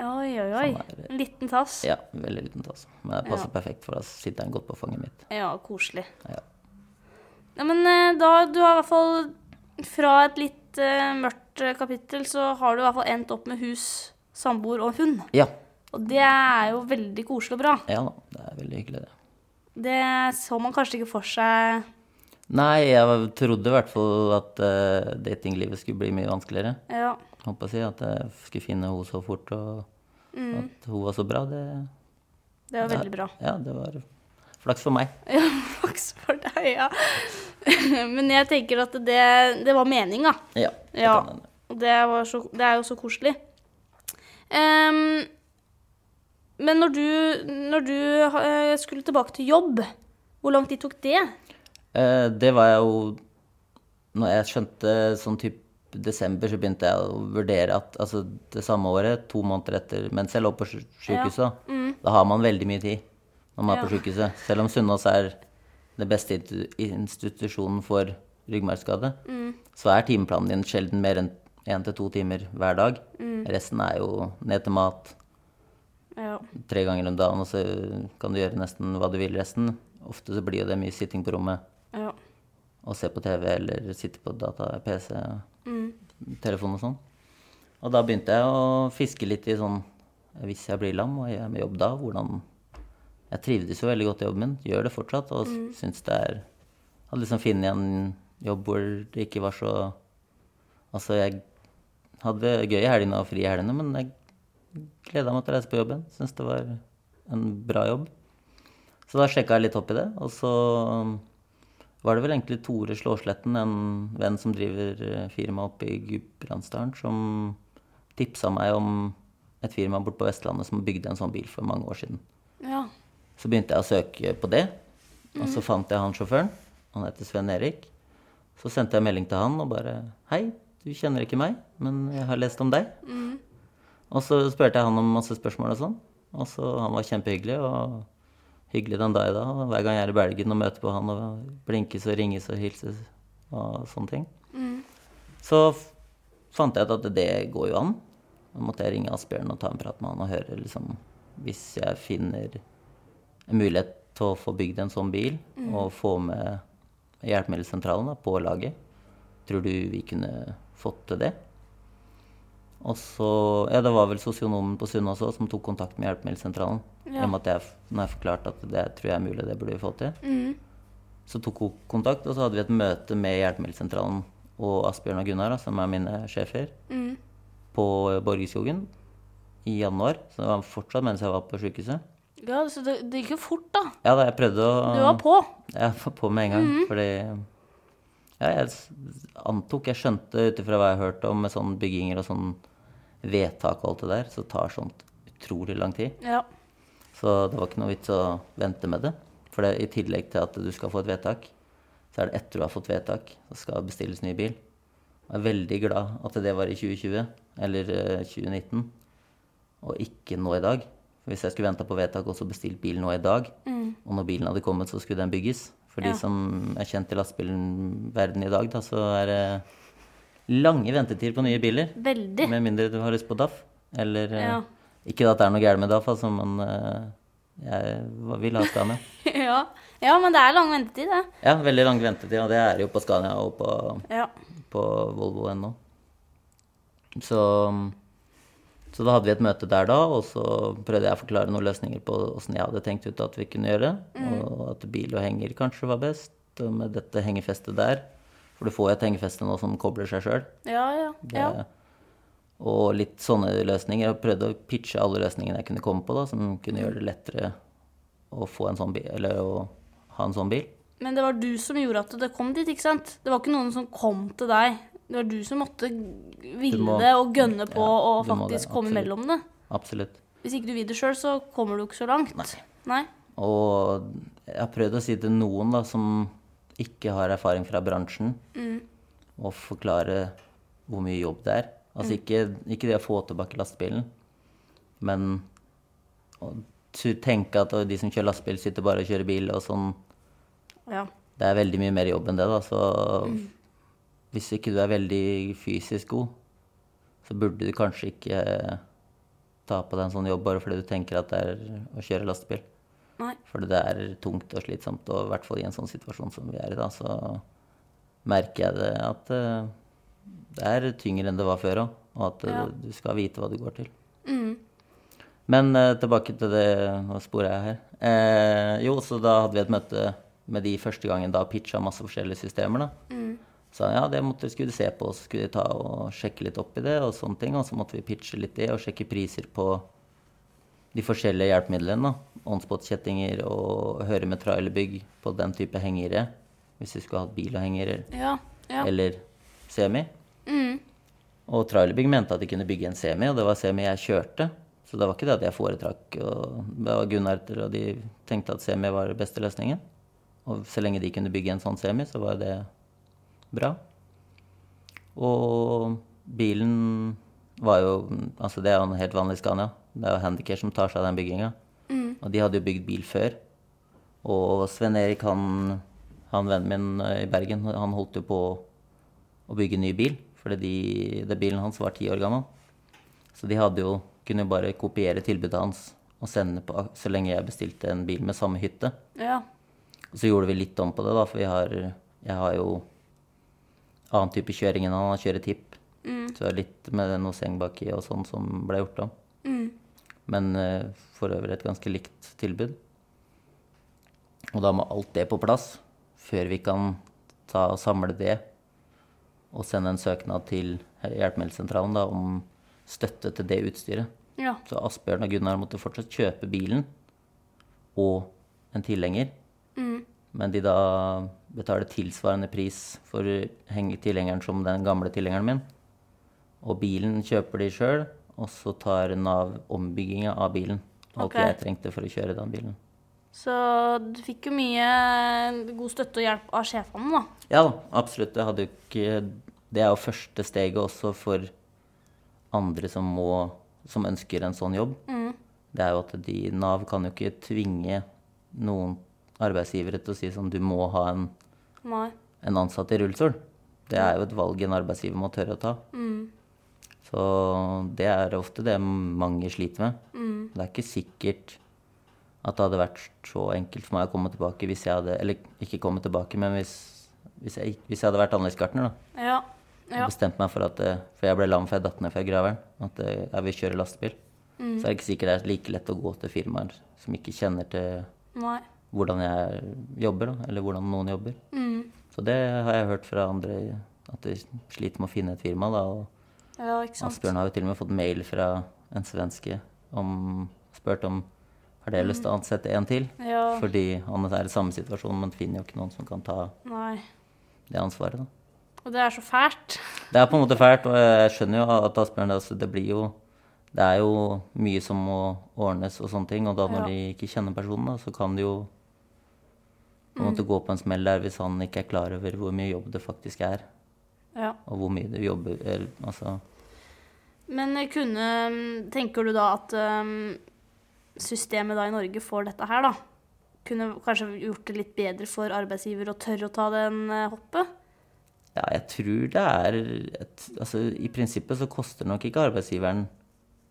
S1: Oi, oi, oi.
S2: Sånn er det.
S1: En liten tass. Ja,
S2: Ja, veldig liten tass. Men det passer perfekt, for da sitter han godt på fanget mitt.
S1: koselig.
S2: Ja.
S1: Ja, men eh, da du har i hvert fall Fra et litt eh, mørkt eh, kapittel, så har du i hvert fall endt opp med hus, samboer og hund.
S2: Ja.
S1: Og det er jo veldig koselig og bra.
S2: Ja da. Det er veldig hyggelig, det.
S1: Det så man kanskje ikke for seg
S2: Nei, jeg trodde i hvert fall at eh, datinglivet skulle bli mye vanskeligere.
S1: Ja.
S2: Holdt på å si at jeg skulle finne henne så fort, og at hun var så bra. Det,
S1: Det var veldig bra.
S2: ja, det var flaks for meg.
S1: Ja, flaks for deg, ja. Men jeg tenker at det, det var meninga.
S2: Ja. det
S1: Ja.
S2: kan hende.
S1: Og det, var så, det er jo så koselig. Ehm, men når du, når du eh, skulle tilbake til jobb, hvor lang tid tok det?
S2: Eh, det var jeg jo Når jeg skjønte sånn type desember, så begynte jeg å vurdere at altså det samme året, to måneder etter, mens jeg lå på sj- sjukehuset, da, da har man veldig mye tid når man er på
S1: Ja.
S2: sjukehuset. Selv om Sunnaas er den beste intu- institusjonen for ryggmargskade, så er timeplanen din sjelden mer enn én til to timer hver dag. Resten er jo ned til mat,
S1: Ja.
S2: tre ganger om dagen, og så kan du gjøre nesten hva du vil resten. Ofte så blir jo det mye sitting på rommet
S1: ja.
S2: og se på TV eller sitte på data, PC, telefon og sånn. Og da begynte jeg å fiske litt i sånn Hvis jeg blir lam og jeg er med jobb da, hvordan Jeg trivdes jo veldig godt i jobben min, gjør det fortsatt, og mm. syns det er Hadde liksom funnet en jobb hvor det ikke var så Altså, jeg hadde det gøy i helgene og fri i helgene, men jeg gleda meg til å reise på jobben. Syns det var en bra jobb. Så da sjekka jeg litt opp i det, og så var det vel egentlig Tore Slåsletten, en venn som driver eh, firma oppe i Gudbrandsdalen, som tipsa meg om et firma borte på Vestlandet som bygde en sånn bil for mange år siden.
S1: ja.
S2: Så begynte jeg å søke på det, og så fant jeg han sjåføren. Han heter Sven Erik. Så sendte jeg melding til han og bare Hei, du kjenner ikke meg, men jeg har lest om deg. Og så spurte jeg han om masse spørsmål og sånn. Og så han var kjempehyggelig, og hyggelig den dag i dag. Og hver gang jeg er i Belgien og møter på han og blinkes og ringes og hilses og sånne ting. Så f- fant jeg ut at det går jo an. Da måtte jeg ringe Asbjørn og ta en prat med han og høre liksom Hvis jeg finner en mulighet til å få bygd en sånn bil og få med hjelpemiddelsentralen da, på laget. Tror du vi kunne fått til det? Og så, ja, Det var vel sosionomen på Sunnaas også som tok kontakt med hjelpemiddelsentralen.
S1: Ja.
S2: I og med at jeg, f- når jeg forklarte at det tror jeg er mulig, det burde vi få til.
S1: Mm,
S2: Så tok hun kontakt, og så hadde vi et møte med hjelpemiddelsentralen og Asbjørn og Gunnar, da, som er mine sjefer,
S1: mm.
S2: på Borgerskogen i januar. Så det var fortsatt mens jeg var på sjukehuset.
S1: ja så det, det gikk jo fort, da.
S2: Ja da, jeg prøvde å
S1: Du var på.
S2: Jeg var på med en gang, fordi Ja, jeg s- antok, jeg skjønte ut ifra hva jeg hørte om med sånne bygginger og sånn vedtak og alt det der, så tar sånt utrolig lang tid.
S1: Ja.
S2: Så det var ikke noe vits å vente med det. For det, i tillegg til at du skal få et vedtak, så er det etter du har fått vedtak, så skal bestilles ny bil. Jeg er veldig glad at det var i 2020, eller eh, 2019, og ikke nå i dag. For hvis jeg skulle venta på vedtak og så bestilt bil nå i dag, og når bilen hadde kommet, så skulle den bygges. For
S1: Ja.
S2: de som er kjent i lastebilverden i dag, da, så er det lange ventetider på nye biler.
S1: Veldig.
S2: Med mindre du har lyst på DAF. Eller eh,
S1: Ja.
S2: Ikke at det er noe gærent med DAF, altså, men eh, jeg hva- vil ha Scania.
S1: ja. ja, men det er lang ventetid, det.
S2: Ja, veldig lang ventetid, og det er jo på Scania og på,
S1: Ja.
S2: på Volvo ennå. Så, så da hadde vi et møte der da, og så prøvde jeg å forklare noen løsninger på åssen jeg hadde tenkt ut at vi kunne gjøre det. Og at bil og henger kanskje var best, og med dette hengefestet der. For du får jo et hengefeste nå som kobler seg sjøl.
S1: Ja, ja.
S2: Det,
S1: ja.
S2: Eh, Og litt sånne løsninger. Jeg prøvde å pitche alle løsningene jeg kunne komme på, da, som kunne gjøre det lettere å få en sånn bil, eller å ha en sånn bil.
S1: Men det var du som gjorde at det kom dit, ikke sant? Det var ikke noen som kom til deg. Det var du som måtte ville
S2: Du må-
S1: det og gønne på
S2: Ja,
S1: og
S2: du må det,
S1: faktisk komme
S2: absolutt.
S1: mellom det.
S2: Absolutt.
S1: Hvis ikke du vil det sjøl, så kommer du ikke så langt.
S2: Nei.
S1: Nei?
S2: Og jeg har prøvd å si til noen da, som ikke har erfaring fra bransjen, og forklare hvor mye jobb det er. Altså ikke, ikke det å få tilbake lastebilen, men å t- tenke at de som kjører lastebil, sitter bare og kjører bil og sånn.
S1: Ja.
S2: Det er veldig mye mer jobb enn det, da. Så hvis ikke du er veldig fysisk god, så burde du kanskje ikke ta på deg en sånn jobb bare fordi du tenker at det er å kjøre lastebil.
S1: Nei.
S2: For det er tungt og slitsomt, og i hvert fall i en sånn situasjon som vi er i da, så merker jeg det at eh, det er tyngre enn det var før òg, og at eh,
S1: Ja.
S2: du skal vite hva du går til.
S1: Mm.
S2: Men eh, tilbake til det Nå sporer jeg her. Eh, jo, så da hadde vi et møte med de første gangen da pitcha masse forskjellige systemer. da. Sa ja, det måtte, skulle de se på, og så skulle de ta og sjekke litt opp i det, og sånne ting. Og så måtte vi pitche litt det, og sjekke priser på de forskjellige hjelpemidlene. da. Onspot-kjettinger og høre med trailerbygg på den type hengere. Hvis vi skulle hatt bil og henger
S1: Ja. ja. Mm.
S2: eller semi. Og Trailerbygg mente at de kunne bygge en semi, og det var semi jeg kjørte. Så det var ikke det at jeg foretrakk og Det var Gunnarter, og de tenkte at semi var den beste løsningen. Og så lenge de kunne bygge en sånn semi, så var jo det bra. Og bilen var jo Altså, det er jo en helt vanlig Scania. Det er jo Handicare som tar seg av den bygginga. Og de hadde jo bygd bil før. Og Sven-Erik, han, han vennen min eh, i Bergen, han holdt jo på å bygge ny bil. Fordi de, det bilen hans var ti år gammel. Så de hadde jo, kunne jo bare kopiere tilbudet hans og sende på så lenge jeg bestilte en bil med samme hytte.
S1: ja.
S2: Og så gjorde vi litt om på det, da, for vi har, jeg har jo annen type kjøring enn han. Han kjører tipp. Så det er litt med noe seng baki og sånn som ble gjort om. Men eh, for øvrig et ganske likt tilbud. Og da må alt det på plass før vi kan ta og samle det og sende en søknad til hjelpemiddelsentralen da, om støtte til det utstyret.
S1: Ja.
S2: Så Asbjørn og Gunnar måtte fortsatt kjøpe bilen og en tilhenger.
S1: Mm.
S2: Men de da betaler tilsvarende pris for henge- tilhengeren som den gamle tilhengeren min. Og bilen kjøper de sjøl, og så tar Nav ombygginga av bilen. Alt
S1: Ok.
S2: jeg trengte for å kjøre den bilen.
S1: Så du fikk jo mye god støtte og hjelp av sjefene, da.
S2: Ja da, absolutt. Det, hadde jo ikke, det er jo første steget også for andre som, må, som ønsker en sånn jobb.
S1: Mm.
S2: Det er jo at de, Nav kan jo ikke tvinge noen arbeidsgivere til å si sånn du må ha en,
S1: Nei.
S2: en ansatt i rullestol. Det er jo et valg en arbeidsgiver må tørre å ta. Så det er ofte det mange sliter med. Det er ikke sikkert at det hadde vært så enkelt for meg å komme tilbake hvis jeg hadde Eller ikke komme tilbake, men hvis, hvis, jeg, ikke- hvis jeg hadde vært anleggsgartner, da.
S1: Ja. Ja.
S2: Og bestemt meg for at eh, For jeg ble lam for jeg datt ned fra graveren. At eh, jeg vil kjøre lastebil. Så er det ikke sikkert det er like lett å gå til firmaer som ikke kjenner til
S1: Nei.
S2: hvordan jeg jobber, da, eller hvordan noen jobber.
S1: Mm.
S2: Så det har jeg hørt fra andre, at de sliter med å finne et firma. da, og
S1: Ja, ikke sant.
S2: Asbjørn har jo til og med fått mail fra en svenske om spurt om har dere lyst til å ansette en til.
S1: Mm. Ja.
S2: Fordi han er i samme situasjon, men finner jo ikke noen som kan ta
S1: Nei.
S2: det ansvaret. da.
S1: Og det er så fælt.
S2: Det er på en måte fælt, og jeg skjønner jo at Asbjørn altså, det blir jo det er jo mye som må ordnes og sånne ting, og da når
S1: Ja.
S2: de ikke kjenner personen, da, så kan det jo Han
S1: Mm.
S2: måtte gå på en smell der hvis han ikke er klar over hvor mye jobb det faktisk er.
S1: Ja.
S2: Og hvor mye du jobber eller, Altså
S1: Men eh, kunne mm, Tenker du da at øhm, systemet da i Norge får dette her, da? Kunne kanskje gjort det litt bedre for arbeidsgiver å tørre å ta den øh, hoppet?
S2: Ja, jeg tror det er et, Altså, i prinsippet så koster nok ikke arbeidsgiveren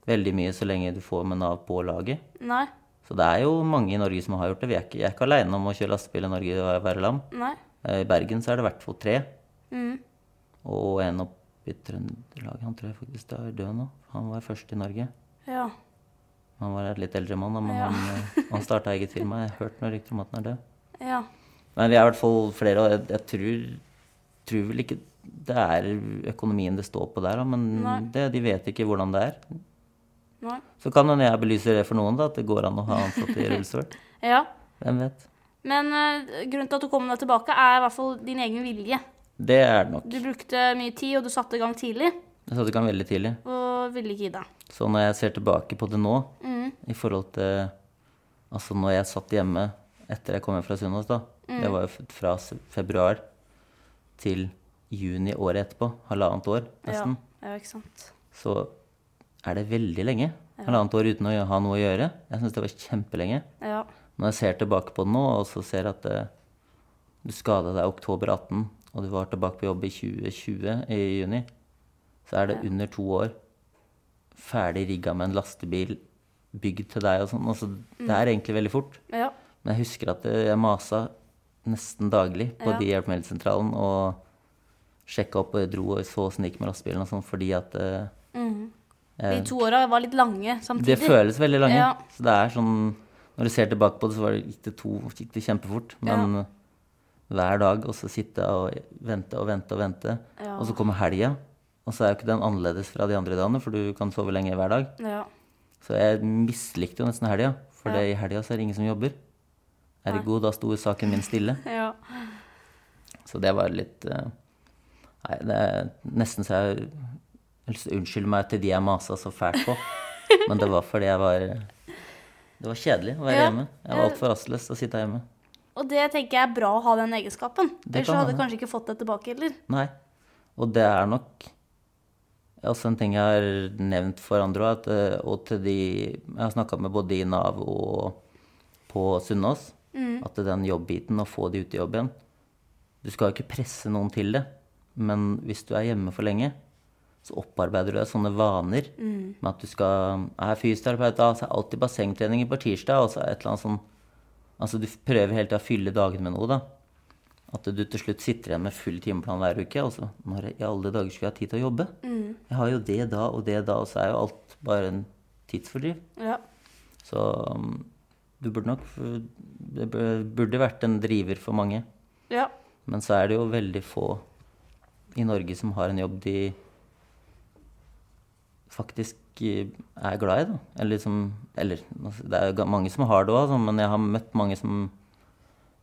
S2: veldig mye så lenge du får med Nav på laget.
S1: Nei.
S2: Så det er jo mange i Norge som har gjort det. Vi er ikke, jeg er ikke aleine om å kjøre lastebil i Norge og være lam.
S1: Nei.
S2: Eh, I Bergen så er det i hvert fall tre.
S1: Mm.
S2: Og en oppe i Trøndelag. Han tror jeg faktisk da er død nå. Han var først i Norge.
S1: Ja.
S2: Han var en litt eldre mann, da, men
S1: Ja.
S2: han, eh, han starta eget firma. Jeg har hørt noen rykter om at han er død.
S1: Ja.
S2: Men vi er i hvert fall flere, og jeg, jeg tror, tror vel ikke det er økonomien det står på der, da,
S1: Nei.
S2: men det, de vet ikke hvordan det er.
S1: Nei.
S2: Så kan hende jeg belyser det for noen, da, at det går an å ha ansatte i rullestol.
S1: Ja.
S2: Hvem vet.
S1: Men øh, grunnen til at du kom deg tilbake, er i hvert fall din egen vilje.
S2: Det er det nok.
S1: Du brukte mye tid, og du satte i gang tidlig,
S2: Jeg satte i gang veldig tidlig.
S1: og ville ikke gi deg.
S2: Så når jeg ser tilbake på det nå,
S1: Mm.
S2: i forhold til Altså når jeg satt hjemme etter jeg kom hjem fra Sunnaas, da.
S1: Mm.
S2: Det var jo f- fra s- februar til juni året etterpå. Halvannet år,
S1: Ja.
S2: nesten.
S1: ja, ikke sant.
S2: Så er det veldig lenge. Halvannet år uten å gjø- ha noe å gjøre. Jeg syns det var kjempelenge.
S1: Ja.
S2: Når jeg ser tilbake på det nå, og så ser at eh, du skada deg i oktober 18, og du var tilbake på jobb i 2020 i juni, så er det under to år ferdig rigga med en lastebil bygd til deg og sånn. Altså, det er egentlig veldig fort.
S1: Ja.
S2: Men jeg husker at eh, jeg masa nesten daglig på
S1: Ja.
S2: de hjelpemiddelsentralen og sjekka opp og dro og så åssen det gikk med lastebilen og sånn, fordi at eh,
S1: Mm. De to åra var litt lange samtidig.
S2: det føles veldig lange.
S1: Ja.
S2: Så det er sånn Når du ser tilbake på det, så var det, gikk, det to, gikk det kjempefort. Men eh, hver dag, og så sitte og vente og vente og vente.
S1: Ja.
S2: Og så kommer helga, og så er jo ikke den annerledes fra de andre dagene, for du kan sove lenge hver dag.
S1: Ja.
S2: Så jeg mislikte jo nesten helga, for det, i helga så er det ingen som jobber. Ergo, da sto saken min stille.
S1: ja.
S2: Så det var litt eh, Nei, det er nesten så jeg Unnskyld meg til de jeg masa så fælt på, men det var fordi jeg var eh, Det var kjedelig å være
S1: Ja,
S2: hjemme. Jeg var altfor rastløs til å sitte hjemme.
S1: Og det tenker jeg er bra å ha den egenskapen.
S2: Det
S1: Ellers
S2: kan
S1: så hadde
S2: hende.
S1: jeg kanskje ikke fått det tilbake heller.
S2: Nei. Og det er nok også en ting jeg har nevnt for andre òg, og til de Jeg har snakka med både i Nav og på Sunnaas, at den jobbbiten, å få de ut i jobb igjen Du skal jo ikke presse noen til det, men hvis du er hjemme for lenge, så opparbeider du deg sånne vaner med at du skal Jeg er fysioterapeut, da, så er det alltid bassengtreninger på tirsdag, og så er det et eller annet sånn Altså du prøver hele tida å fylle dagene med noe, da. At du til slutt sitter igjen med full timeplan hver uke. Og så når i alle dager skulle jeg ha tid til å jobbe? Jeg har jo det da og det da, og så er jo alt bare en tidsfordriv.
S1: Ja.
S2: Så um, du burde nok Det bur- burde vært en driver for mange.
S1: Ja.
S2: Men så er det jo veldig få i Norge som har en jobb de faktisk eh, er glad i, da. Eller som Eller altså, det er jo ga- mange som har det òg, men jeg har møtt mange som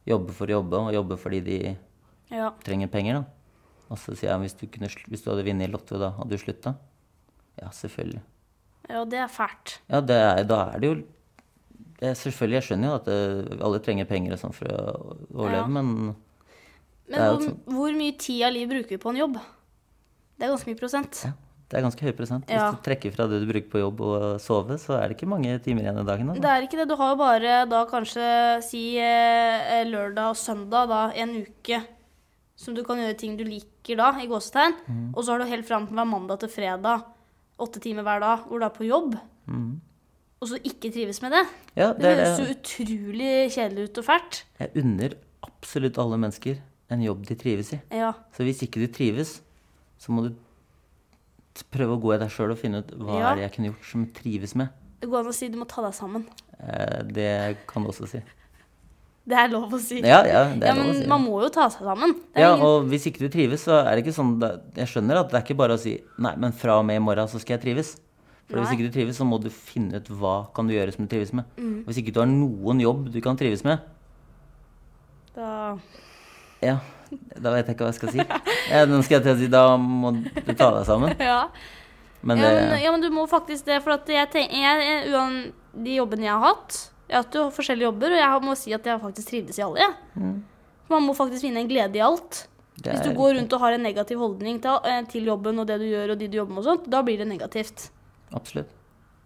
S2: jobber for å jobbe, og jobber fordi de
S1: ja.
S2: trenger penger, da. Og så sier jeg hvis du, kunne, sl- hvis du hadde vunnet i Lotto, da hadde du slutta? Ja, selvfølgelig.
S1: Ja, det er fælt.
S2: Ja, det er, da er det jo det er Selvfølgelig, jeg skjønner jo at det, alle trenger penger og sånn for å overleve,
S1: Ja.
S2: men Det
S1: Men
S2: er jo sånn.
S1: hvor, hvor mye tid av livet bruker vi på en jobb? Det er ganske mye prosent.
S2: ja, det er ganske høy prosent.
S1: Ja.
S2: Hvis du trekker fra det du bruker på jobb og sove, så er det ikke mange timer igjen i dagen.
S1: Det
S2: Da.
S1: er ikke det. Du har jo bare da kanskje si eh, lørdag og søndag, da en uke som du kan gjøre ting du liker da, i gåsetegn.
S2: Mm.
S1: Og så har du helt fram til hver mandag til fredag, åtte timer hver dag, hvor du er på jobb. Og så ikke trives med det.
S2: Mm. Ja,
S1: Det,
S2: det er
S1: høres jo
S2: det.
S1: utrolig kjedelig ut og fælt.
S2: Jeg unner absolutt alle mennesker en jobb de trives i.
S1: Ja.
S2: Så hvis ikke du trives, så må du t- prøve å gå i deg sjøl og finne ut hva
S1: Ja.
S2: er det jeg kunne gjort som jeg trives med.
S1: Det går an å si du må ta deg sammen.
S2: Eh, Det kan du også si.
S1: Det er lov å si.
S2: Ja, ja, det er
S1: men
S2: lov å si.
S1: man må jo ta seg sammen. Det er
S2: Ja,
S1: ingen-
S2: og hvis ikke du trives, så er det ikke sånn det- Jeg skjønner at det er ikke bare å si Nei, men fra og med i morgen så skal jeg trives. For hvis
S1: Nei.
S2: ikke du trives, så må du finne ut hva kan du gjøre som du trives med.
S1: Mm.
S2: Hvis ikke du har noen jobb du kan trives med,
S1: da,
S2: ja, da vet jeg ikke hva jeg skal si. Ja, den skal jeg til å si. Da må du ta deg sammen.
S1: ja.
S2: Men
S1: Ja, men,
S2: det
S1: ja, men du må faktisk det, for at jeg tenker jeg, uan, De jobbene jeg har hatt Jeg har hatt jo forskjellige jobber, og jeg har- må si at jeg faktisk trivdes i alle. Jeg. Man må faktisk finne en glede i alt.
S2: Mm. Det
S1: Hvis
S2: er
S1: du går rundt og har en negativ holdning til, eh, til jobben og det du gjør og de du jobber med og sånt, da blir det negativt.
S2: Absolutt.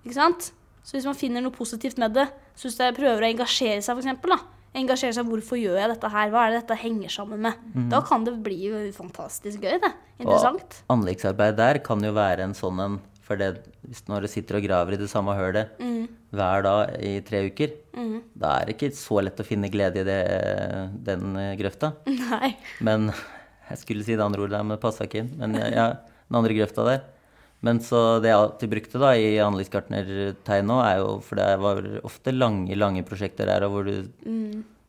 S1: Ikke sant? Så hvis man finner noe positivt med det, synes jeg prøver å engasjere seg for eksempel, da. Engasjere seg, hvorfor gjør jeg dette her, hva er det dette henger sammen med? Da kan det bli jo fantastisk gøy det, interessant.
S2: Og anleggsarbeid der kan jo være en sånn en. For det, hvis når du sitter og graver i det samme hølet hver dag i tre uker, da er det ikke så lett å finne glede i det, den eh, grøfta.
S1: Nei,
S2: Men jeg skulle si det andre ordet der, men det passa ikke inn. Men ja, ja, den andre grøfta der. Men så det jeg alltid brukte da i anleggsgartnertegn nå, er jo For det var ofte lange, lange prosjekter der og hvor du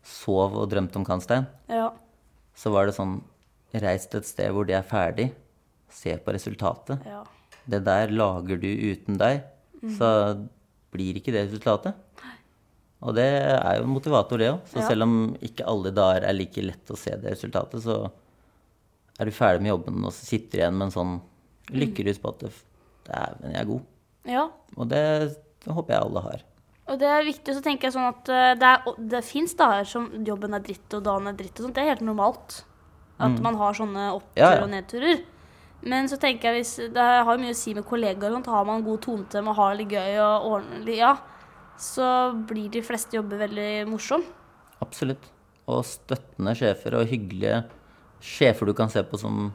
S2: sov og drømte om kantstein
S1: ja,
S2: så var det sånn Reis til et sted hvor det er ferdig. Se på resultatet.
S1: ja.
S2: Det der lager du uten deg, så blir ikke det resultatet. Og det er jo en motivator, det òg. Så
S1: Ja.
S2: selv om ikke alle dager er like lett å se det resultatet, så er du ferdig med jobben, og så sitter du igjen med en sånn lykkerus på at det f- Dæven, jeg er god.
S1: ja.
S2: Og det håper jeg alle har.
S1: Og det er viktig, så tenker jeg sånn at eh, det, er- og det fins dager som jobben er dritt og dagen er dritt og sånt. Det er helt normalt at man har sånne oppturer
S2: Mm. Ja, ja.
S1: og nedturer. Men så tenker jeg hvis det har jo mye å si med kollegaer og sånt. Har man en god tone til dem og har det litt gøy og ordentlig, ja, så blir de fleste jobber veldig morsomme.
S2: Absolutt. Og støttende sjefer og hyggelige sjefer du kan se på som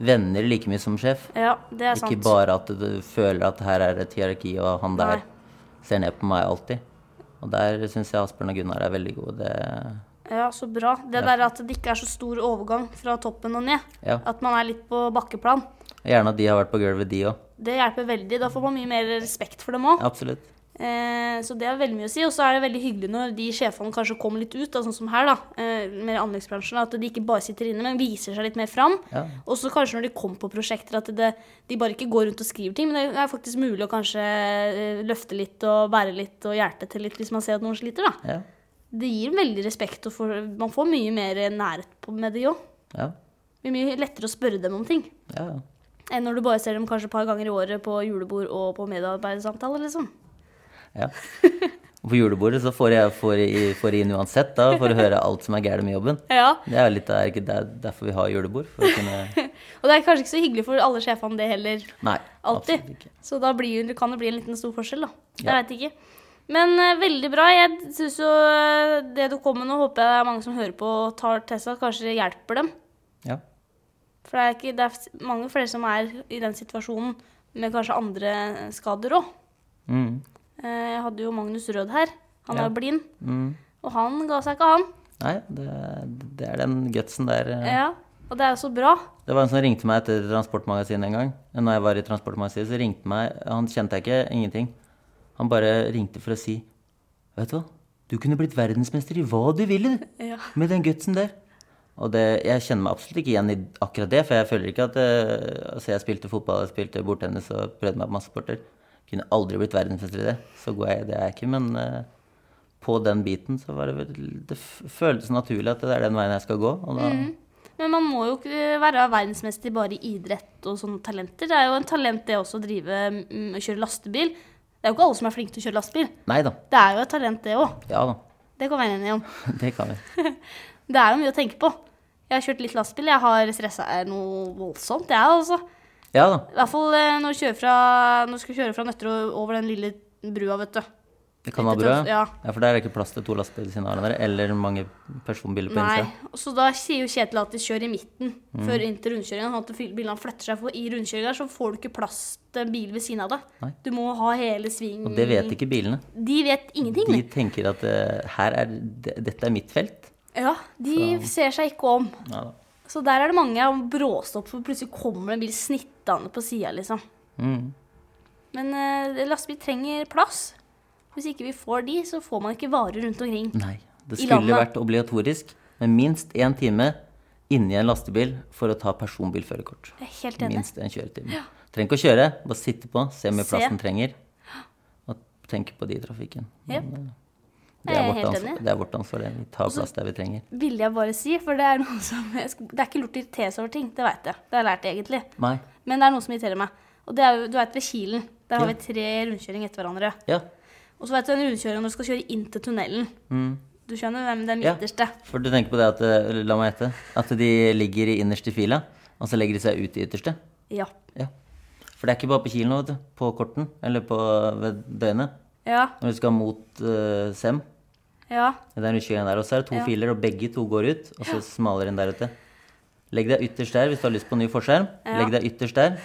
S2: venner like mye som sjef.
S1: Ja, det er sant.
S2: Ikke bare at du føler at her er et hierarki, og han der
S1: Nei.
S2: ser ned på meg alltid. Og der syns jeg Asbjørn og Gunnar er veldig gode. Det,
S1: Ja, så bra. Det der at det ikke er så stor overgang fra toppen og ned.
S2: ja.
S1: At man er litt på bakkeplan.
S2: Gjerne at de har vært på gulvet, de òg.
S1: Det hjelper veldig. Da får man mye mer respekt for dem òg.
S2: Absolutt.
S1: Eh, så det er veldig mye å si. Og så er det veldig hyggelig når de sjefene kanskje kommer litt ut, da, sånn som her, da, eh, mer i anleggsbransjen, at de ikke bare sitter inne, men viser seg litt mer fram.
S2: Ja.
S1: Og så kanskje når de kommer på prosjekter, at det, de bare ikke går rundt og skriver ting, men det er faktisk mulig å kanskje eh, løfte litt og bære litt og hjelpe til litt hvis man ser at noen sliter, da.
S2: Ja.
S1: Det gir veldig respekt, og får- man får mye mer nærhet på- med det òg.
S2: Ja.
S1: Det blir mye lettere å spørre dem om ting
S2: ja. ja.
S1: enn når du bare ser dem kanskje et par ganger i året på julebord og på medarbeidersamtaler, liksom.
S2: ja. Og På julebordet så får jeg, får jeg, får jeg inn uansett, da, for å høre alt som er gærent med jobben.
S1: Ja.
S2: Det er jo litt der, ikke der, derfor vi har julebord. For å kunne
S1: Og det er kanskje ikke så hyggelig for alle sjefene det heller,
S2: Nei,
S1: alltid.
S2: absolutt ikke.
S1: Så da blir, jo- kan det bli en liten stor forskjell, da. Jeg
S2: Ja.
S1: vet ikke. Men eh, veldig bra. Jeg syns jo eh, det du kom med nå, håper jeg det er mange som hører på og tar til seg. Kanskje det hjelper dem.
S2: Ja.
S1: For det er, ikke, det er s- mange flere som er i den situasjonen med kanskje andre eh, skader òg.
S2: Mm.
S1: Jeg hadde jo Magnus Rød her. Han
S2: Ja.
S1: er jo blind.
S2: Mm.
S1: Og han ga seg ikke, han.
S2: Nei, det, det er den gutsen der. eh,
S1: Ja. Og det er jo så bra.
S2: Det var en som ringte meg etter Transportmagasinet en gang. Når jeg var i Transportmagasinet, så ringte meg Han kjente jeg ikke, ingenting. Han bare ringte for å si Vet du hva? Du kunne blitt verdensmester i hva du ville du,
S1: Ja.
S2: med den gutsen der. Og det, jeg kjenner meg absolutt ikke igjen i akkurat det, for jeg føler ikke at eh, Altså, jeg spilte fotball, jeg spilte bordtennis og prøvde meg på masse sporter. Kunne aldri blitt verdensmester i det. Så god er jeg, det er jeg ikke. Men eh, på den biten så var det vel Det f- føltes naturlig at det er den veien jeg skal gå. Og
S1: Mhm.
S2: da
S1: Men man må jo ikke være verdensmester bare i idrett og sånne talenter. Det er jo en talent det også å drive mm, å kjøre lastebil. Det er jo ikke alle som er flinke til å kjøre lastebil.
S2: Nei da.
S1: Det er jo et talent det òg.
S2: Ja da.
S1: Det kan vi være enige om.
S2: Det kan vi.
S1: Det er jo mye å tenke på. Jeg har kjørt litt lastebil. Jeg har stressa noe voldsomt, jeg altså.
S2: Ja da.
S1: I hvert fall eh, når du kjører fra, når du skal kjøre fra Nøtterøy over den lille brua, vet du.
S2: Det kan ha
S1: Etter
S2: brød.
S1: trans- ja.
S2: Ja, for der er det ikke plass til to lastebiler ved siden av hverandre. Eller mange personbiler på
S1: Nei.
S2: innsida.
S1: Og så da sier jo Kjetil at de kjører i midten
S2: Mm.
S1: før inn til rundkjøringa. Sånn at fil- bilene flytter seg, for i rundkjøringa så får du ikke plass til en bil ved siden av deg.
S2: Nei.
S1: Du må ha hele svingen.
S2: Og det vet ikke bilene.
S1: De vet ingenting.
S2: De tenker at eh, her er, de- dette er mitt felt.
S1: Ja, de ser seg ikke om.
S2: Ja da.
S1: Så der er det mange om bråstopp, for plutselig kommer det en bil snittende på sida, liksom.
S2: Mm.
S1: Men eh, lastebil trenger plass. Hvis ikke vi får de, så får man ikke varer rundt omkring.
S2: Nei. Det
S1: I
S2: skulle
S1: landet.
S2: vært obligatorisk med minst én time inni en lastebil for å ta personbilførerkort.
S1: Jeg er helt enig.
S2: Minst en kjøretime. Trenger ikke å kjøre, bare sitte på, se hvor mye
S1: Se.
S2: plass den trenger. Og tenke på de i trafikken.
S1: Jep.
S2: Mm. Det
S1: Jeg
S2: er,
S1: er
S2: altså. vårt
S1: helt
S2: ansvar,
S1: enig.
S2: det er vårt ansvar, det. Vi tar plass der vi trenger.
S1: Ville jeg bare si, for det er noe som jeg, sk- Det er ikke lurt å irritere seg over ting, det veit jeg. Det har jeg lært, egentlig.
S2: Nei.
S1: Men det er noe som irriterer meg. Og det er jo, du vet, ved Kilen. Der har
S2: Ja.
S1: vi tre rundkjøringer etter hverandre.
S2: Ja.
S1: Og så vet du den rundkjøringen når du skal kjøre inn til tunnelen. Du skjønner hvem den
S2: Mm. Ja.
S1: midterste
S2: For du tenker på det at eh, La meg gjette. At de ligger i innerste fila, og så legger de seg ut i ytterste.
S1: Ja.
S2: Ja. For det er ikke bare på kilen, vet du. På korten, eller på ved døgnet.
S1: Ja.
S2: Når du skal mot eh, Sem,
S1: Ja.
S2: det er en utkikkeren der, og så er det to
S1: Ja.
S2: filer, og begge to går ut, og så smalere enn der ute. Legg deg ytterst der hvis du har lyst på ny forskjerm.
S1: Ja.
S2: Legg deg ytterst der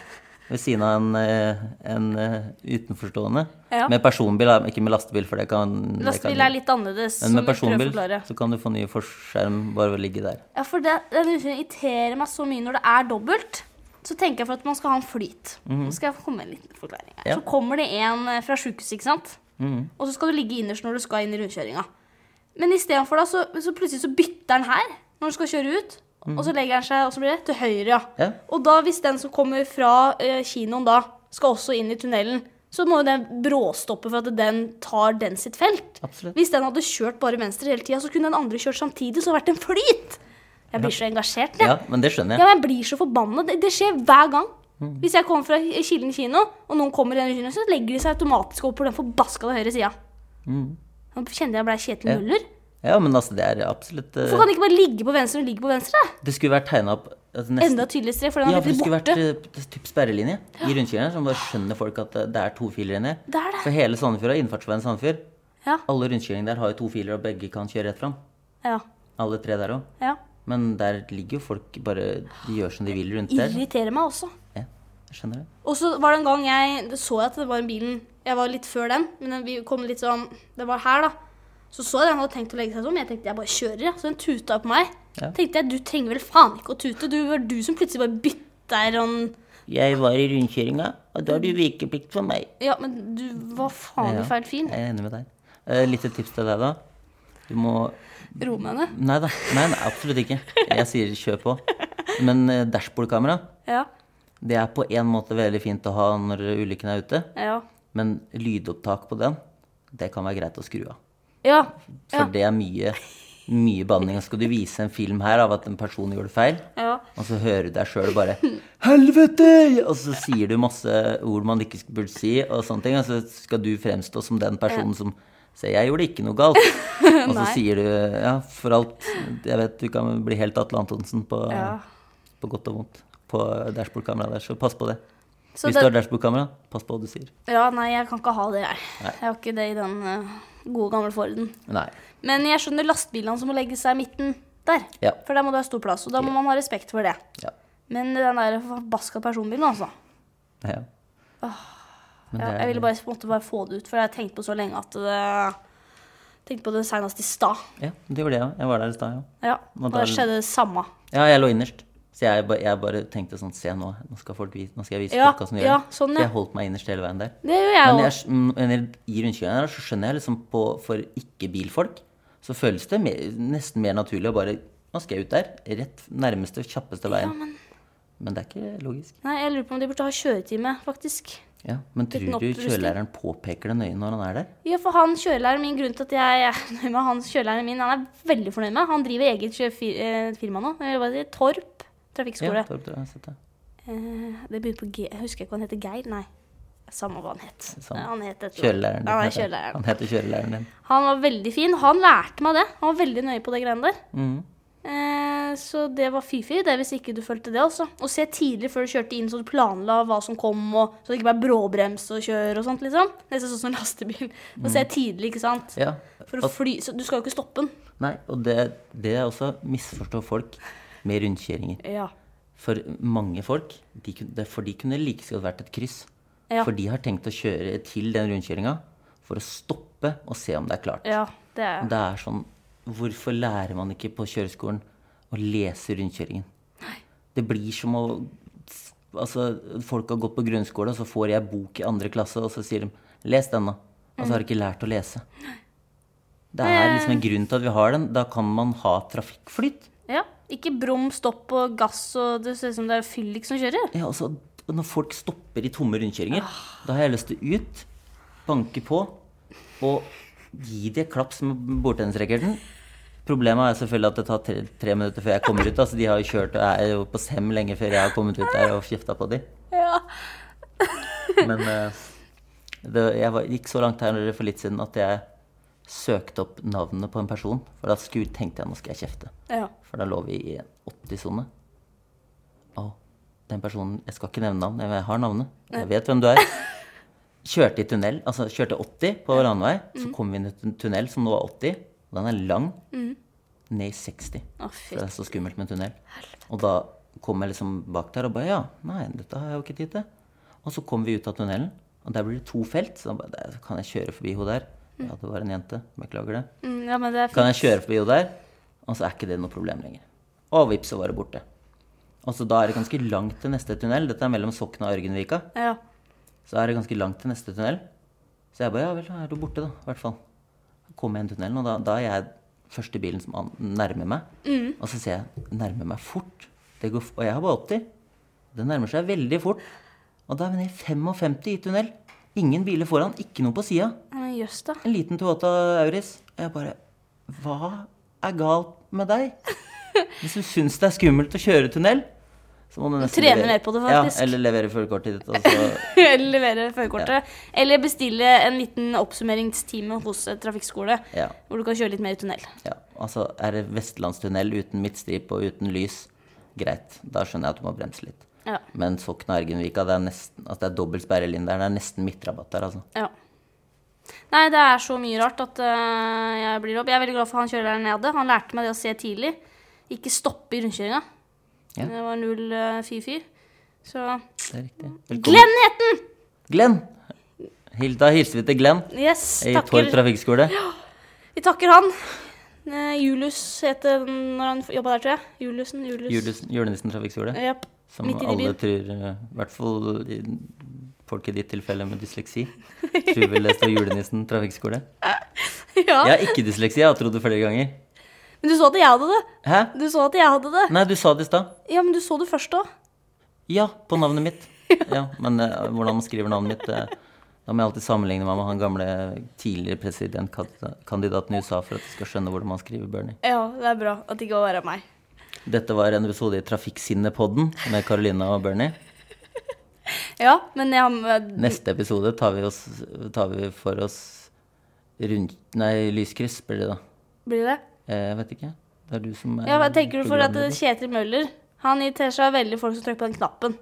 S2: ved siden av en, eh, en eh, utenforstående.
S1: Ja.
S2: Med personbil, da, ikke med lastebil, for det kan det kan-
S1: Lastebil er litt annerledes. som vi prøver å
S2: Men med personbil
S1: forklare.
S2: så kan du få ny forskjerm bare ved å ligge der.
S1: Ja, for det, den utfordringen irriterer meg så mye når det er dobbelt. Så tenker jeg for at man skal ha en flyt. Nå skal jeg komme med en liten forklaring. her.
S2: Mhm. Ja.
S1: Så kommer det en eh, fra sjukehuset, ikke sant.
S2: Mhm.
S1: Og så skal du ligge innerst når du skal inn i rundkjøringa. Men istedenfor da, så, så plutselig så bytter den her når du skal kjøre ut. Og så legger den seg og så blir det til høyre, ja.
S2: Mhm. Ja.
S1: Og da hvis den som kommer fra eh, kinoen da, skal også inn i tunnelen, så må jo den bråstoppe for at den tar den sitt felt.
S2: Absolutt.
S1: Hvis den hadde kjørt bare venstre hele tida, så kunne den andre kjørt samtidig, så hadde det vært en flyt. Jeg blir så engasjert, jeg.
S2: Ja, men det skjønner
S1: Ja, men
S2: jeg.
S1: jeg blir så forbanna. Det, det skjer hver gang.
S2: Mm.
S1: Hvis jeg kommer fra Kilen kino, og noen kommer i den kinoen, så legger de seg automatisk over på den forbaska høyre sida.
S2: Mhm.
S1: Nå kjente jeg ble Kjetil Møller.
S2: Ja, men altså, det er absolutt eh,
S1: Hvorfor kan de ikke bare ligge på venstre og ligge på venstre?
S2: Det skulle vært tegna opp altså, nesten
S1: Enda tydeligere strek, for den
S2: Ja,
S1: har
S2: for det
S1: blitt
S2: skulle vært
S1: borte.
S2: eh, typ sperrelinje i rundkjøringen, så man bare skjønner folk at eh, det er to filer inni.
S1: Det er det.
S2: For hele Sandefjord har innfartsveien Sandefjord.
S1: Ja.
S2: Alle rundkjøringer der har jo to filer, og begge kan kjøre rett fram.
S1: Ja.
S2: Alle tre der òg.
S1: ja.
S2: Men der ligger jo folk bare De gjør som de vil rundt der.
S1: Irriterer meg også.
S2: Ja, jeg skjønner det.
S1: Og så var det en gang jeg det så jeg at det var en bilen Jeg var litt før den, men den- vi kom litt sånn Det var her, da. Så så jeg den hadde tenkt å legge seg sånn, men jeg tenkte jeg bare kjører, jeg. Så den tuta på meg.
S2: Ja.
S1: Tenkte jeg, du trenger vel faen ikke å tute. Du var du som plutselig bare bytta sånn
S2: Jeg var i rundkjøringa, og da har du vikeplikt for meg.
S1: Ja, men du var faen
S2: Ja,
S1: i feil fin.
S2: Jeg er enig med deg. Eh, lite tips til deg, da. Du må
S1: Ro med henne.
S2: Nei da. Nei, nei, absolutt ikke. Jeg sier kjør på. Men eh, dashbordkamera,
S1: Ja.
S2: det er på en måte veldig fint å ha når ulykken er ute.
S1: Ja.
S2: Men lydopptak på den, det kan være greit å skru av.
S1: Ja.
S2: For det er mye, mye banning. Og Skal du vise en film her av at en person gjorde feil,
S1: ja.
S2: og så hører du deg sjøl bare 'Helvete!' Og så sier du masse ord man ikke burde si, og sånne ting. Og så skal du fremstå som den personen som Se, jeg gjorde ikke noe galt. Og så
S1: Nei.
S2: sier du Ja, for alt Jeg vet du kan bli helt Atle Antonsen på,
S1: Ja.
S2: på godt og vondt på dashbordkameraet der, så pass på det.
S1: Så
S2: Hvis
S1: det-
S2: du har dashbordkamera, pass på hva du sier.
S1: ja, nei, jeg kan ikke ha det, jeg. Jeg har ikke det i den eh, gode, gamle Forden.
S2: Nei.
S1: Men jeg skjønner lastebilene som må legge seg i midten der.
S2: Ja.
S1: For der må du ha stor plass, og da må man ha respekt for det.
S2: Ja.
S1: Men den der forbaska personbilen, altså.
S2: ja. Men
S1: Ja,
S2: det er-
S1: jeg ville bare, måtte bare få det ut, for jeg har tenkt på så lenge at det Tenkte på det senest i stad.
S2: Ja, det gjorde jeg òg. Jeg var der i stad, ja.
S1: Ja,
S2: Og
S1: og
S2: da-
S1: da skjedde det samme.
S2: Ja, jeg lå innerst. Så jeg, ba, jeg bare tenkte sånn Se nå, nå skal, folk vise, nå skal jeg vise
S1: Ja,
S2: folk hva som gjør
S1: ja,
S2: det.
S1: sånn,
S2: Så
S1: ja.
S2: jeg holdt meg innerst hele veien der.
S1: Det gjør jeg
S2: Men
S1: òg.
S2: jeg, mm, men i rundkjøringen her så skjønner jeg liksom på, For ikke-bilfolk så føles det mer, nesten mer naturlig å bare Nå skal jeg ut der. Rett nærmeste, kjappeste veien. men... det er ikke logisk.
S1: Nei, jeg lurer på om de burde ha kjøretime, faktisk.
S2: Ja, Men
S1: Liten
S2: tror du
S1: opprustning.
S2: kjørelæreren påpeker det nøye når han er der?
S1: Ja, for han kjørelæreren min, grunnen til at jeg er nøye med han kjørelæreren min, han er veldig fornøyd med. Han driver eget kjø- fir- eh, firma nå. Jeg vil bare si Torp trafikkskole.
S2: Ja, Torp, tror jeg har sett det.
S1: Eh, Det begynner på G. Jeg husker ikke hva han heter. Geir? Nei. Samme hva han het.
S2: Samme.
S1: Han het et-
S2: Kjørelæreren din.
S1: Ja, han, er
S2: heter-
S1: kjørelæreren.
S2: Han heter kjørelæreren din.
S1: han var veldig fin. Han lærte meg det. Han var veldig nøye på det greiene der.
S2: Mhm.
S1: Eh, så det var fy-fy, det, hvis ikke du fulgte det også. Og se tidlig før du kjørte inn, så du planla hva som kom, og så det ikke ble bråbrems og kjør og sånt, liksom. Nesten sånn som en lastebil. Må se tidlig, ikke sant.
S2: Ja.
S1: For å fly Så du skal jo ikke stoppe den.
S2: Nei, og det, det er også misforstå folk med rundkjøringer.
S1: Ja.
S2: For mange folk, de, kun- det- for de kunne like så godt vært et kryss.
S1: Ja.
S2: For de har tenkt å kjøre til den rundkjøringa for å stoppe og se om det er klart.
S1: Ja, det er
S2: Og Det er sånn, hvorfor lærer man ikke på kjøreskolen å lese rundkjøringen? Det blir som å, altså folk har gått på grunnskole, og så får jeg bok i andre klasse, og så sier de, les den da. Og så har de ikke lært å lese. Det er liksom en grunn til at vi har den. Da kan man ha trafikkflyt.
S1: Ja. Ikke brum, stopp og gass og Det ser ut som det er fyllik som kjører.
S2: Ja, altså, når folk stopper i tomme rundkjøringer, da har jeg lyst til å ut, banke på og gi de et klaps med bordtennisracketen. Problemet er selvfølgelig at det tar tre, tre minutter før jeg kommer ut. Altså, de har jo kjørt og er jo på sem lenge før jeg har kommet ut der og kjefta på de.
S1: Ja.
S2: Men eh, det, jeg var, gikk så langt her for litt siden at jeg søkte opp navnet på en person. For da skulle, tenkte jeg nå skal jeg kjefte.
S1: Ja.
S2: For da lå vi i en 80-sone. Og den personen Jeg skal ikke nevne navn, jeg har navnet. Jeg vet hvem du er. Kjørte i tunnel, altså kjørte 80 på landevei. Så kom vi inn i en tunnel som nå var 80. Og den er lang. Ned i 60.
S1: Å,
S2: For
S1: fy.
S2: det er så skummelt med tunnel. Og da kom jeg liksom bak der og bare Ja, nei, dette har jeg jo ikke tid til. Og så kom vi ut av tunnelen, og der blir det to felt. Så da bare, "Der kan jeg kjøre forbi hun der? Ja, det var en jente. Beklager det.
S1: Mm, ja, men det er
S2: Kan
S1: fint.
S2: jeg kjøre forbi henne der? Og så er ikke det noe problem lenger. Og vips, så var det borte. Og så da er det ganske langt til neste tunnel. Dette er mellom Sokna og Ørgenvika.
S1: Ja.
S2: Så er det ganske langt til neste tunnel. Så jeg bare, ja vel, da er du borte da, i hvert fall. Kom jeg inn i tunnelen, og da, da er jeg først i bilen som an- nærmer meg. Og så ser jeg, nærmer meg fort. Det går, f- og jeg har bare 80. Det nærmer seg veldig fort. Og da er vi nede i 55 i tunnel. Ingen biler foran, ikke noe på sida.
S1: Men jøss, da.
S2: En liten Toyota Auris. Og jeg bare Hva er galt med deg? Hvis du syns det er skummelt å kjøre tunnel, så må du nesten
S1: Trene
S2: levere-
S1: mer på det, faktisk.
S2: Ja, eller levere førerkortet ditt. Og så
S1: Eller levere førerkortet. Eller bestille en liten oppsummeringstime hos eh, trafikkskole.
S2: Ja.
S1: Hvor du kan kjøre litt mer i tunnel.
S2: Ja, altså er det Vestlandstunnel uten midtstripe og uten lys, greit. Da skjønner jeg at du må bremse litt.
S1: Ja.
S2: Men Sokna-Ergenvika, det er nesten altså det er dobbelt sperrelinje der. Det er nesten midtrabatt der, altså.
S1: ja. Nei, det er så mye rart at eh, jeg blir opp. Jeg er veldig glad for han kjørelæreren jeg hadde. Han lærte meg det å se tidlig. Ikke stoppe i rundkjøringa.
S2: Ja.
S1: Det var 044. Så
S2: Det er riktig. Velkommen.
S1: Glenn het den!
S2: Glenn! Hil- Da hilser vi til Glenn
S1: Yes,
S2: i Torp
S1: takker.
S2: trafikkskole.
S1: Vi takker han. Eh, Julius het det når han jobba der, tror jeg. Juliusen, Julius.
S2: Jules- Julenissen trafikkskole.
S1: Japp.
S2: Som
S1: Midt i
S2: alle
S1: byen.
S2: tror eh, I hvert fall i- folk i ditt tilfelle med dysleksi. Tror vel det står julenissen trafikkskole.
S1: Ja.
S2: Jeg har ikke dysleksi, jeg har trodd det flere ganger.
S1: Men du så at jeg hadde det.
S2: Hæ?
S1: Du så at jeg hadde det.
S2: Nei, du sa det i stad.
S1: Ja, men du så det først òg.
S2: Ja, på navnet mitt. Ja, Men eh, hvordan man skriver navnet mitt eh, Da må jeg alltid sammenligne meg med han gamle tidligere presidentkandidaten i USA for at de skal skjønne hvordan man skriver Bernie.
S1: Ja, det er bra at det ikke var verre enn meg.
S2: Dette var en episode i Trafikksinne-podden med Carolina og Bernie.
S1: Ja, men jeg har
S2: Neste episode tar vi, oss, tar vi for oss rund... Nei, lyskryss blir det da.
S1: Blir det?
S2: Eh, Jeg vet ikke. Det er du som er
S1: Ja, hva tenker du for at
S2: programleder.
S1: Kjetil Møller Han irriterer seg veldig folk som trykker på den knappen.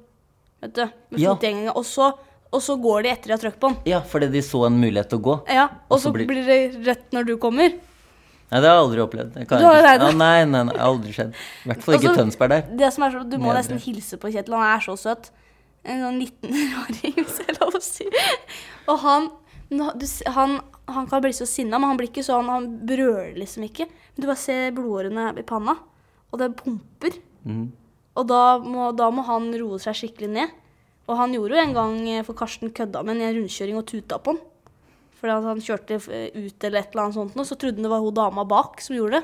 S1: Vet du, med
S2: Ja.
S1: fotgjenginga. Og, så, og så går de etter de har trykt på den.
S2: Ja, fordi de så en mulighet til å gå.
S1: Ja,
S2: Og
S1: Og
S2: så
S1: så
S2: blir-
S1: blir det rødt når du kommer.
S2: Nei, det har jeg aldri opplevd. Jeg kan
S1: Du har
S2: ikke-
S1: det, du.
S2: Ja, nei, nei, nei, det har aldri skjedd. I hvert fall ikke
S1: Og så-
S2: Tønsberg der.
S1: Det som er så, Du må
S2: Nedre.
S1: nesten hilse på Kjetil. Han er så søt. En sånn 19-åring, hvis jeg har lov å si. Og han, nå- du, s- han Han kan bli så sinna, men han blir ikke sånn Han brøler liksom ikke. Men du bare ser blodårene i panna, og det pumper.
S2: Mhm.
S1: Og da må, da må han roe seg skikkelig ned. Og han gjorde jo en gang, eh, for Karsten kødda med han i en rundkjøring og tuta på han. Fordi at han kjørte eh, ut eller et eller annet sånt, noe, så trodde han det var hun dama bak som gjorde det.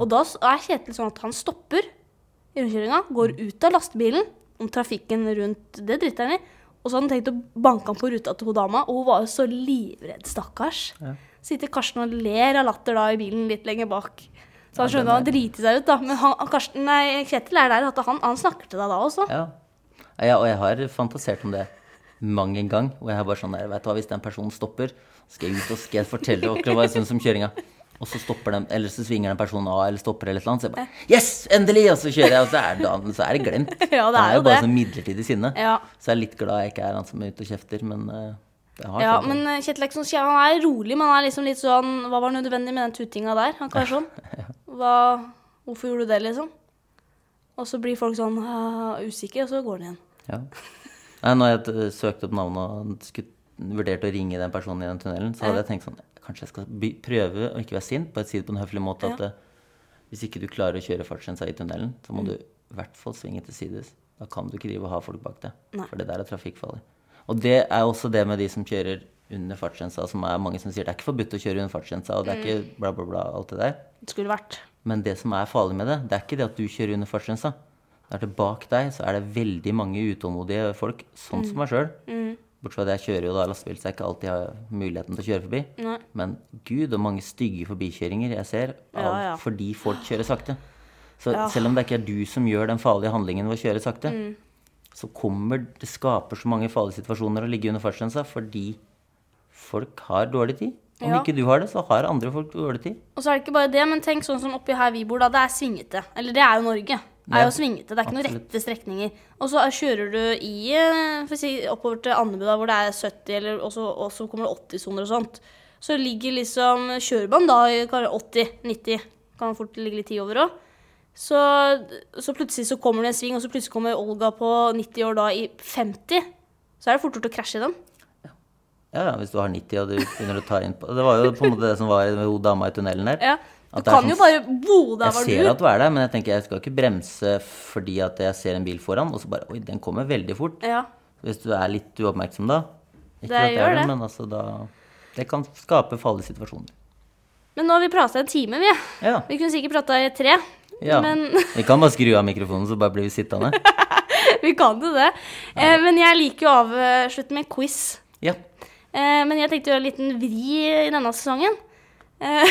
S1: Og da s- er Kjetil sånn at han stopper i rundkjøringa, går ut av lastebilen, om trafikken rundt det driter han i. Og så hadde han tenkt å banke han på ruta til hun dama, og hun var jo så livredd, stakkars. Sitter Karsten og ler av latter da i bilen litt lenger bak. Så han skjønner han driter seg ut, da. Men han, Karsten, nei, Kjetil er der at han, han snakker til deg da også.
S2: Ja. ja, og jeg har fantasert om det mang en gang. Og jeg er bare sånn der, vet du hva, hvis den personen stopper, skal jeg ut og skal jeg fortelle dere hva jeg syns om kjøringa. Og så stopper den, eller så svinger den personen av eller stopper eller et eller annet. Så jeg bare Yes! Endelig! Og så kjører jeg, og så er det, så er det glemt.
S1: Ja, det
S2: Han
S1: er jo
S2: bare
S1: det.
S2: sånn midlertidig sinne.
S1: Ja.
S2: Så jeg er litt glad jeg ikke er han som er ute og kjefter, men eh, det har
S1: Ja,
S2: skjedd.
S1: men eh, Kjetil er ikke sånn skjev. Han er rolig, men han er liksom litt sånn Hva var nødvendig med den tutinga der? Han kan være sånn. Hva, hvorfor gjorde du det, liksom? Og så blir folk sånn «Ah, usikre, og så går den igjen.
S2: Ja. Nei, når jeg t- søkte opp navnet og skulle, vurderte å ringe den personen i den tunnelen, så hadde jeg tenkt sånn Kanskje jeg skal by, prøve å ikke være sint, bare si det på en høflig måte at eh, hvis ikke du klarer å kjøre fartsgrensa i tunnelen, så må du i hvert fall svinge til sides. Da kan du ikke drive og ha folk bak deg.
S1: Nei.
S2: For det der er trafikkfarlig. Og det er også det med de som kjører under fartsgrensa, som er mange som sier det er ikke forbudt å kjøre under fartsgrensa, og det er ikke bla, bla, bla, alt det der.
S1: Det skulle vært.
S2: Men det som er farlig med det, det er ikke det at du kjører under fartsgrensa. Det er at bak deg så er det veldig mange utålmodige folk, sånn
S1: Mm.
S2: som meg sjøl. Bortsett fra at jeg kjører jo da lastebil, så jeg ikke alltid har muligheten til å kjøre forbi.
S1: Nei.
S2: Men gud, og mange stygge forbikjøringer jeg ser av,
S1: Ja, ja.
S2: fordi folk kjører sakte. Så
S1: Ja. Mm.
S2: selv om det ikke er du som gjør den farlige handlingen ved å kjøre sakte, så kommer det skaper så mange farlige situasjoner å ligge under fartsgrensa fordi folk har dårlig tid. Om
S1: Ja.
S2: ikke du har det, så har andre folk dårlig tid.
S1: Og så er det ikke bare det, men tenk sånn som oppi her vi bor, da. Det er svingete. Eller det er jo Norge. Det er jo
S2: Ja,
S1: svingete. Det er ikke noen
S2: absolutt.
S1: rette strekninger. Og så kjører du i eh, for å si, oppover til Andebu, da, hvor det er 70, eller, og, så, og så kommer det 80-soner og sånt. Så ligger liksom kjørebanen da i kanskje 80-90. Kan fort ligge litt tid over òg. Så, så plutselig så kommer det en sving, og så plutselig kommer Olga på 90 år da i 50. Så er det fort gjort å krasje i den.
S2: Ja, ja, hvis du har 90 og du begynner å ta inn på Det var jo på en måte det som var med hun dama i tunnelen der.
S1: Ja. Du
S2: At det er
S1: kan
S2: sånn-
S1: jo bare Bo, der var
S2: jeg
S1: du!
S2: ser at du er der, men jeg tenker jeg skal ikke bremse fordi at jeg ser en bil foran, og så bare Oi, den kommer veldig fort.
S1: Ja.
S2: Hvis du er litt uoppmerksom da. Ikke
S1: Det
S2: at jeg
S1: gjør
S2: er
S1: det.
S2: men altså da Det kan skape farlige situasjoner.
S1: Men nå har vi prata en time, vi.
S2: Ja.
S1: Vi kunne sikkert prata i tre,
S2: ja.
S1: men
S2: Vi kan bare skru av mikrofonen, så bare blir vi sittende.
S1: vi kan jo det. Eh, men jeg liker jo å avslutte med en quiz.
S2: Ja.
S1: Eh, men jeg tenkte å gjøre en liten vri i denne sesongen. Eh,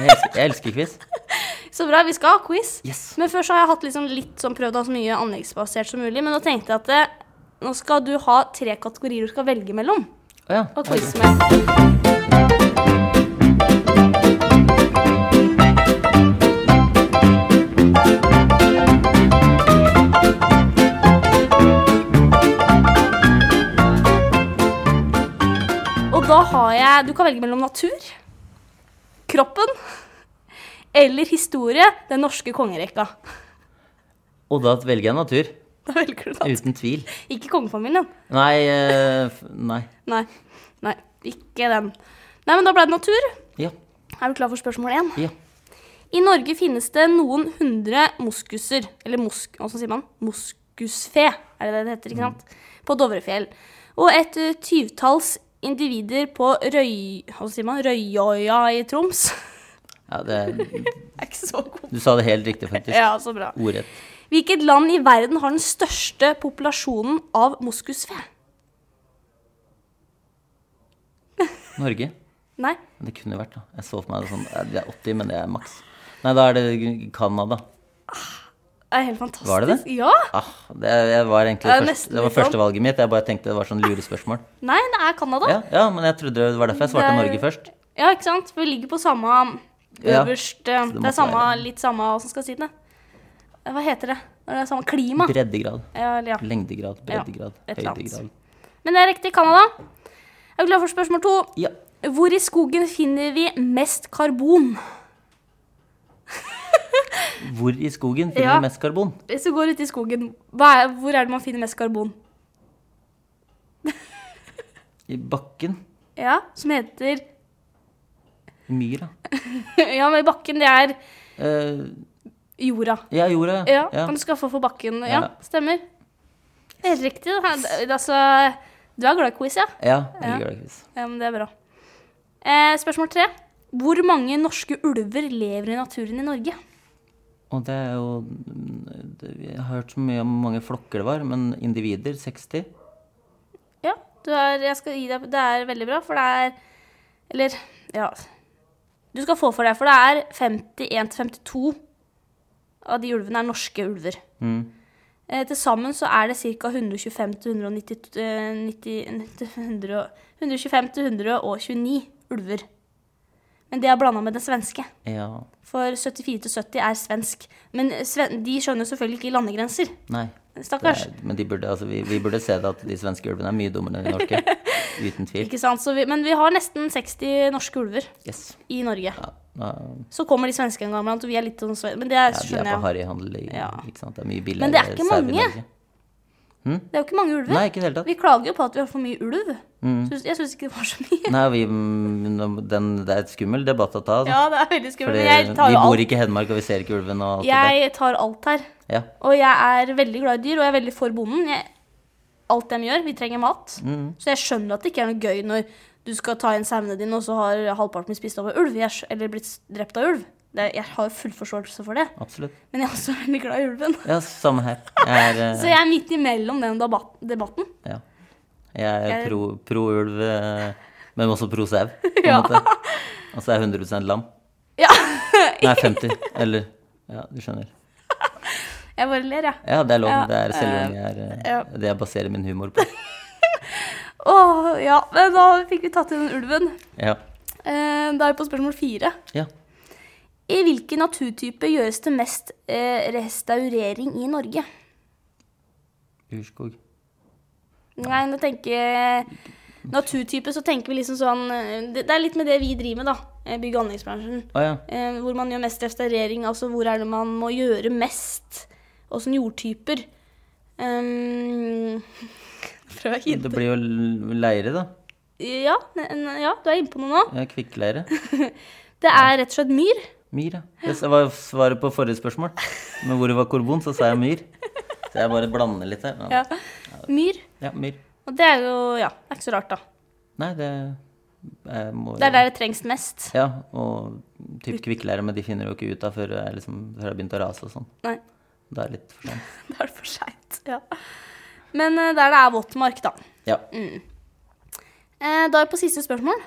S2: Jeg elsker, jeg elsker quiz.
S1: så bra, vi skal ha quiz.
S2: Yes.
S1: Men før så har jeg hatt liksom litt sånn prøvd å ha så mye anleggsbasert som mulig. Men nå tenkte jeg at eh, nå skal du ha tre kategorier du skal velge mellom.
S2: Å ja.
S1: Og quiz med. Og da har jeg Du kan velge mellom natur, kroppen eller historie. Den norske kongerekka.
S2: Og da velger jeg natur.
S1: Da velger du da.
S2: Uten tvil.
S1: Ikke kongefamilien.
S2: Nei. eh, f- nei.
S1: Nei. Nei, ikke den. Nei, men da ble det natur.
S2: Ja.
S1: Er du klar for spørsmål én?
S2: Ja.
S1: I Norge finnes det noen hundre moskuser, eller mosk, hvordan sier man? moskusfe, er det det det heter, ikke sant?
S2: Mm.
S1: På Dovrefjell. Og et eh, tyvtalls individer på Røy... Hva sier man? Røyøya i Troms.
S2: ja det,
S1: Jeg er ikke så god.
S2: du sa det helt riktig, faktisk.
S1: Ja, så bra.
S2: Ordrett.
S1: Hvilket land i verden har den største populasjonen av moskusfe?
S2: Norge.
S1: Nei,
S2: Men Det kunne vært, da. Jeg så for meg det sånn eh, Det er 80, men det er maks. Nei, da er det Canada.
S1: det er helt fantastisk.
S2: Var det det?
S1: Ja.
S2: Ah, det, jeg var egentlig
S1: Det er
S2: først,
S1: nesten
S2: det var
S1: litt sånn.
S2: førstevalget mitt. Jeg bare tenkte det var sånn lurespørsmål.
S1: Nei, det er Canada.
S2: Ja, ja, men jeg trodde det var derfor jeg svarte
S1: Det er-
S2: Norge først.
S1: Ja, ikke sant? For vi ligger på samme
S2: Ja.
S1: øverst eh,
S2: det
S1: Det,
S2: måtte
S1: er samme,
S2: være-
S1: litt samme hva som skal si det. Eh, Hva heter det? Når det er samme klima?
S2: Breddegrad,
S1: Ja, eller ja.
S2: lengdegrad, breddegrad,
S1: et eller annet.
S2: høydegrad.
S1: Men det er riktig. Canada. Er du klar for spørsmål to?
S2: Ja.
S1: Hvor i skogen finner vi mest karbon?
S2: Hvor i skogen finner
S1: Ja.
S2: vi mest karbon?
S1: Hvis du går ut i skogen, hva er, hvor er det man finner mest karbon?
S2: I bakken?
S1: Ja, Som heter
S2: I myra?
S1: Ja, men i bakken, det er
S2: Eh,
S1: jorda.
S2: ja, jorda.
S1: Ja,
S2: ja.
S1: Kan du skaffe for bakken? Ja,
S2: Ja.
S1: stemmer. Det er helt riktig. det her. Det- Altså, du er glad i quiz, ja?
S2: ja,
S1: Ja.
S2: jeg liker det, Chris.
S1: Ja, men det er bra. Eh, spørsmål tre. Hvor mange norske ulver lever i naturen i Norge?
S2: Og det er jo mm, det, Jeg har hørt så mye om hvor mange flokker det var, men individer 60?
S1: Ja, du er, jeg skal gi deg Det er veldig bra, for det er Eller, ja Du skal få for deg, for det er 51-52 av de ulvene er norske ulver.
S2: Mm.
S1: Eh, Til sammen så er det ca. eh, 125-129 ulver. Men det er blanda med det svenske.
S2: Ja.
S1: For 74 til 70 er svensk. Men sven de skjønner selvfølgelig ikke landegrenser.
S2: Nei. Det
S1: Stakkars.
S2: er, men de burde, altså, vi, vi burde se det at de svenske ulvene er mye dummere enn de norske. Uten tvil.
S1: Ikke sant? Så vi, men vi har nesten 60 norske ulver
S2: Yes.
S1: i Norge.
S2: Ja, ja,
S1: Så kommer de svenske en gang iblant, og vi er litt sånn sve- Men det er,
S2: ja, de er
S1: skjønner
S2: på
S1: jeg.
S2: harryhandel. i-
S1: Ja.
S2: Ikke sant? Det er mye billigere
S1: Men det er ikke
S2: sau i
S1: mange.
S2: Norge.
S1: Det er jo ikke mange ulver.
S2: Nei, ikke Mm. i det hele tatt.
S1: Vi klager jo på at vi har for mye ulv. Syns- Jeg syns ikke det var så mye.
S2: Nei, vi, mm, den, det er et skummel debatt å ta. Altså.
S1: Ja, det er veldig skummelt.
S2: Fordi
S1: Men jeg tar
S2: vi
S1: jo
S2: bor
S1: alt.
S2: ikke i Hedmark, og vi ser ikke ulven og alt det der.
S1: Jeg tar alt her.
S2: Ja.
S1: Og jeg er veldig glad i dyr, og jeg er veldig for bonden. Jeg, alt de gjør. Vi trenger mat.
S2: Mm,
S1: Så jeg skjønner at det ikke er noe gøy når du skal ta inn sauene dine, og så har halvparten blitt spist av en ulv, jeg, skj- eller blitt s- drept av ulv. Det, jeg har jo full forståelse for det,
S2: Absolutt.
S1: men jeg er også veldig glad i ulven.
S2: Ja, samme her. Jeg er, eh,
S1: Så jeg er midt imellom den debat debatten.
S2: ja. jeg er
S1: Jeg-
S2: pro, pro ulv, eh, men også pro sau, på en
S1: Ja.
S2: måte. Og så er jeg 100 lam.
S1: Ja,
S2: Nei, 50. Eller Ja, du skjønner.
S1: jeg bare ler, jeg.
S2: Ja, det er lov.
S1: Ja,
S2: Det er selvhøring jeg er eh,
S1: ja.
S2: Det jeg baserer min humor på.
S1: Åh, ja, men da fikk vi tatt inn den ulven.
S2: Ja.
S1: Eh, Da er vi på spørsmål fire.
S2: Ja.
S1: I hvilken naturtype gjøres det mest eh, restaurering i Norge?
S2: Urskog.
S1: Nei, nå tenker jeg Naturtype, så tenker vi liksom sånn eh, Det det er litt med det vi driver med, da. eh, Bygg- og anleggsbransjen.
S2: Å ja.
S1: Eh, Hvor man gjør mest restaurering, altså hvor er det man må gjøre mest? Åssen jordtyper? Um, prøver jeg å
S2: Det
S1: hinte.
S2: blir jo l- leire, da.
S1: Ja, ne- ja, du er inne på noe nå.
S2: Ja, Kvikkleire.
S1: Det er rett og slett myr.
S2: Myr, ja. Det var jo svaret på forrige spørsmål. Men hvor det var karbon, så sa jeg myr. Så jeg bare blander litt her. Ja,
S1: Ja. Myr.
S2: ja myr.
S1: Og det er jo ja, det er ikke så rart, da.
S2: Nei, det jeg må
S1: Det er der det trengs mest.
S2: Ja, og typ kvikkleire, men de finner jo ikke ut av før jeg liksom, før det har begynt å rase og sånn.
S1: Nei,
S2: Det er litt for sånn.
S1: da er det for seint. Ja. Men eh, der det er våtmark, da.
S2: Ja.
S1: Mm. Eh, Da er vi på siste spørsmål.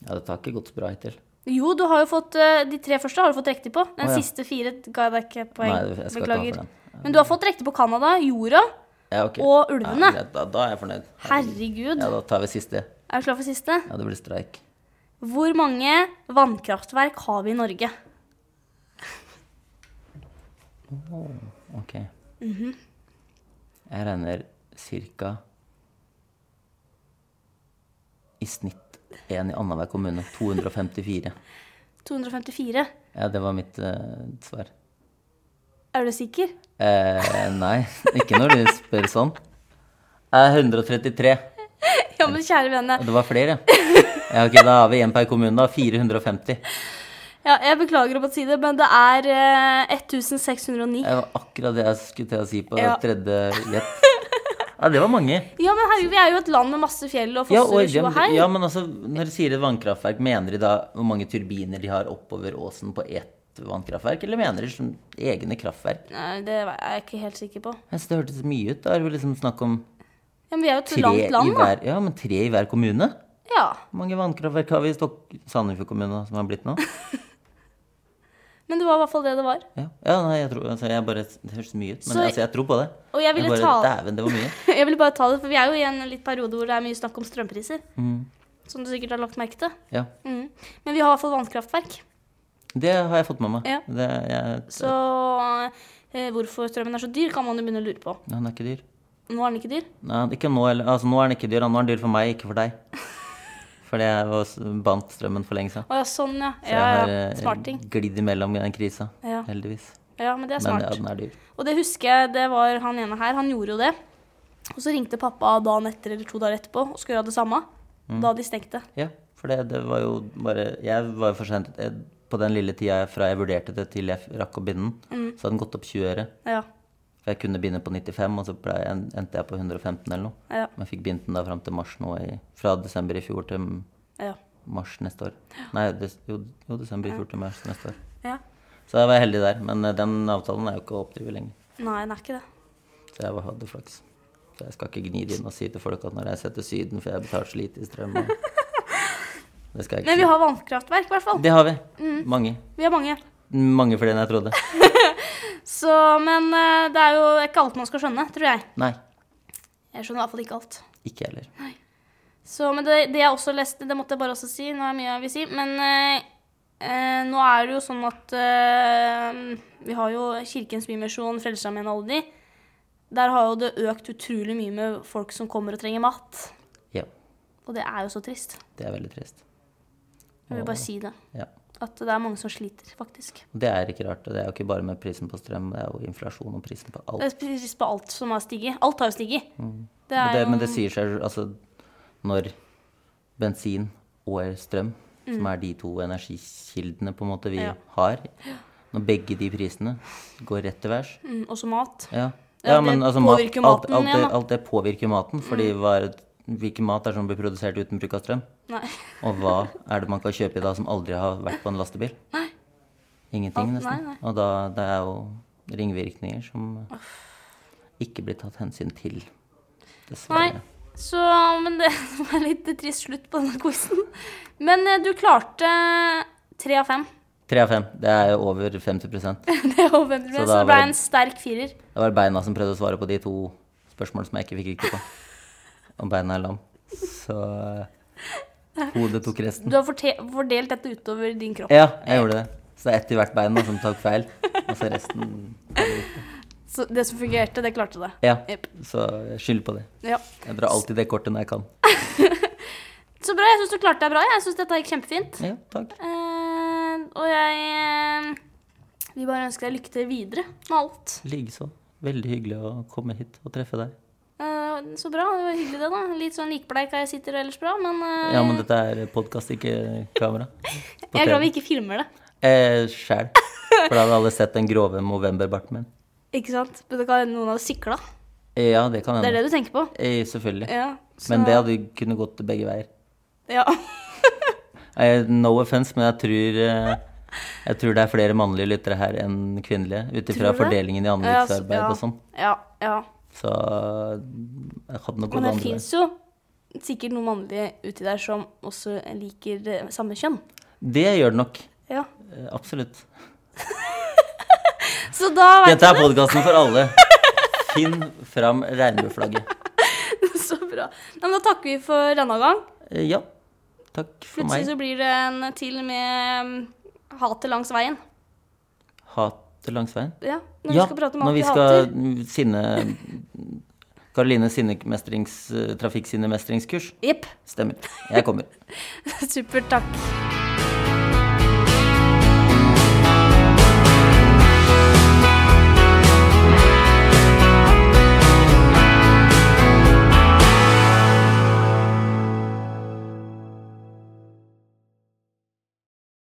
S2: ja, dette har ikke gått så bra hittil.
S1: Jo, du har jo fått eh, de tre første har du fått riktig på. Den
S2: Å, ja.
S1: siste fire ga jeg deg ikke poeng.
S2: Nei, jeg skal ikke ha for den.
S1: Men du har fått riktig på Canada, jorda.
S2: Ja, ok.
S1: Og ulvene.
S2: Ja, greit, da, da er jeg fornøyd.
S1: Herregud.
S2: Ja, da tar vi siste.
S1: Er du klar for siste?
S2: Ja, det blir streik.
S1: Hvor mange vannkraftverk har vi i Norge?
S2: Ok.
S1: Mhm.
S2: Jeg regner cirka i snitt én i annenhver kommune. 254.
S1: 254.
S2: Ja, det var mitt eh, svar.
S1: Er du sikker?
S2: Eh, nei, ikke når du spør sånn. Eh, 133.
S1: Ja, men kjære vene.
S2: Og det var flere. Ja, ok, da har vi én per kommune, da. 450.
S1: Ja, jeg beklager å måtte si det, men det er eh, 1609.
S2: Det var akkurat det jeg skulle til å si på
S1: Ja.
S2: tredje gjett. Ja, det var mange.
S1: Ja, men herregud, vi er jo et land med masse fjell og
S2: Ja,
S1: fosser
S2: og
S1: og tjo og hei.
S2: dem- ja, men altså, når du sier et vannkraftverk, mener de da hvor mange turbiner de har oppover åsen på ett vannkraftverk, eller mener de som egne kraftverk?
S1: Nei, det er jeg ikke helt sikker på.
S2: Jeg synes det hørtes mye ut. Da er det vel liksom snakk om
S1: Ja, men vi er jo et
S2: tre
S1: langt
S2: i
S1: land, da.
S2: hver Ja, men tre i hver kommune?
S1: Ja.
S2: Hvor mange vannkraftverk har vi i Stok Sandefjord kommune som har blitt nå?
S1: Men det var i hvert fall det det var.
S2: Ja, ja nei, jeg tror altså, jeg bare, Det høres mye ut, men
S1: Så-
S2: altså, jeg tror på det.
S1: Og jeg ville
S2: bare,
S1: ta-
S2: Dæven, det var mye.
S1: Jeg ville bare ta det, for vi er jo i en litt periode hvor det er mye snakk om strømpriser.
S2: Mm.
S1: Som du sikkert har lagt merke til.
S2: Ja.
S1: Mm. Men vi har i hvert fall vannkraftverk.
S2: Det har jeg fått med meg.
S1: Ja.
S2: Det, jeg,
S1: Så eh, hvorfor strømmen er så dyr, kan man jo begynne å lure på.
S2: Ja, den er ikke dyr.
S1: Nå er den ikke dyr.
S2: Nei, ikke nå, heller. altså, nå er den ikke dyr. da. Nå er den dyr for meg, ikke for deg. Fordi jeg var s- bandt strømmen for lenge siden.
S1: Å ja, sånn, ja.
S2: Så
S1: Ja,
S2: jeg har
S1: ja.
S2: eh,
S1: Smarting.
S2: glidd imellom den krisa,
S1: Ja.
S2: heldigvis.
S1: Ja, men det er
S2: Men ja,
S1: smart.
S2: den er dyr.
S1: Og det husker jeg, det var han ene her, han gjorde jo det. Og så ringte pappa dagen etter eller to dager etterpå og skulle gjøre det samme.
S2: Mm.
S1: Da de stengte.
S2: Ja, for det, det var jo bare Jeg var jo for sent eh, på den lille tida fra jeg vurderte det til jeg rakk å binde den.
S1: Mm.
S2: Så hadde den gått opp 20 øre.
S1: Ja.
S2: For jeg kunne binde på 95, og så ble, jeg- endte jeg på 115 eller noe.
S1: Ja.
S2: Men jeg fikk bindt den da fram til mars nå i Fra desember i fjor til
S1: Ja.
S2: mars neste år. Nei, des, jo, jo, desember i fjor til mars neste år.
S1: ja.
S2: Så jeg var heldig der, men eh, den avtalen er jo ikke å oppdrive lenger.
S1: Nei, den er ikke det.
S2: Så jeg hadde flaks. Så jeg skal ikke gni det inn og si til folk at når jeg ser til Syden, for jeg betaler så lite i strøm og Det skal jeg
S1: Men vi
S2: ikke si.
S1: har Mm. vannkraftverk, i hvert fall.
S2: Det har vi. Mange.
S1: Vi har mange.
S2: Mange flere enn jeg trodde.
S1: Så, men eh, det er jo ikke alt man skal skjønne, tror jeg.
S2: Nei,
S1: Jeg skjønner i hvert fall ikke alt.
S2: ikke jeg heller.
S1: Så, men det, det jeg også leste, det måtte jeg bare også si, nå er det mye jeg vil si, men eh, eh, nå er det jo sånn at eh, vi har jo Kirkens Bymisjon, Frelsesarmeen og alle de. Der har jo det økt utrolig mye med folk som kommer og trenger mat.
S2: Ja,
S1: Og det er jo så trist.
S2: det er veldig trist.
S1: Jeg vil bare si det.
S2: Ja.
S1: At det er mange som sliter, faktisk.
S2: Og det er ikke rart. og Det er jo ikke bare med prisen på strøm, det er jo inflasjon og prisen på alt.
S1: Det er trist på alt som har stiget. Alt har jo stiget. Det
S2: Mm. Men
S1: er
S2: det,
S1: jo
S2: men det sier seg altså når bensin og strøm, som er de to energikildene på en måte vi
S1: Mm. Ja.
S2: har, når begge de prisene går rett til værs,
S1: mm, også mat.
S2: Ja,
S1: Ja,
S2: ja,
S1: det
S2: men altså,
S1: påvirker
S2: mat, alt,
S1: maten igjen,
S2: alt, det,
S1: da. Mm.
S2: alt det påvirker maten. Fordi hva er, hvilken mat er det som blir produsert uten bruk av strøm?
S1: Nei.
S2: Og hva er det man kan kjøpe i dag som aldri har vært på en lastebil? Ingenting,
S1: Alt-
S2: nesten.
S1: nei,
S2: Og da det er jo ringvirkninger som ikke blir tatt hensyn til.
S1: Nei.
S2: Dessverre.
S1: Så, men det var litt trist slutt på denne quizen. Men eh, du klarte tre av fem.
S2: Tre av fem. Det er jo over 50 Det
S1: Det er over 50
S2: Så da
S1: så det ble
S2: var det-
S1: en sterk firer.
S2: var beina som prøvde å svare på de to spørsmålene som jeg ikke fikk riktig på. Om beina er lam. Så eh, Hodet tok resten.
S1: Du har forte- fordelt dette utover din kropp.
S2: Ja, jeg gjorde det. Så det er ett i hvert bein da, som tok feil. Og så resten
S1: Så det som fungerte, det klarte det.
S2: Ja.
S1: Jep.
S2: Så jeg skylder på det.
S1: Ja.
S2: Jeg drar alltid det kortet når jeg kan.
S1: Så bra. Jeg syns du klarte deg bra. Jeg syns dette gikk kjempefint.
S2: Ja, takk.
S1: Eh, og jeg eh, vil bare ønske deg lykke til videre med alt.
S2: Likeså. Veldig hyggelig å komme hit og treffe deg.
S1: Eh, så bra. Det var hyggelig, det, da. Litt sånn likbleik er jeg sitter ellers bra, men, eh,
S2: Ja, men dette er podkast, ikke kamera. På
S1: jeg er glad vi
S2: TV.
S1: ikke filmer det.
S2: Eh, Sjæl. For da hadde alle sett den grove novemberbarten min.
S1: Ikke sant? Men det kan hende noen hadde sikla.
S2: Eh, Ja, det kan
S1: Det er
S2: hende.
S1: det du tenker på?
S2: Eh, selvfølgelig.
S1: Ja. så-
S2: Men det hadde kunne gått begge veier.
S1: Ja.
S2: Eh, no offense, men jeg tror, eh, jeg tror det er flere mannlige lyttere her enn kvinnelige. Ut ifra
S1: Tror du det?
S2: fordelingen i
S1: Ja, så-
S2: anleggsarbeid og sånn.
S1: Ja. ja.
S2: Så jeg hadde nok gått
S1: Men det
S2: andre veien.
S1: fins jo sikkert noen mannlige uti der som også liker eh, samme kjønn.
S2: Det gjør det nok.
S1: Ja.
S2: Eh, Absolutt.
S1: Så da vet
S2: Dette er podkasten for alle. Finn fram regnbueflagget.
S1: du så bra. Nei, men da takker vi for denne gang.
S2: Eh, Ja. Takk for
S1: Plutselig
S2: meg.
S1: så blir det en til med mm, hatet langs veien.
S2: Hatet langs veien.
S1: Ja, når
S2: Ja,
S1: vi skal prate om
S2: når
S1: alt vi
S2: vi skal
S1: hater.
S2: sinne Karoline sinnemestrings... eh, Trafikksinnemestringskurs.
S1: Jepp.
S2: Stemmer. Jeg kommer.
S1: Supert. Takk.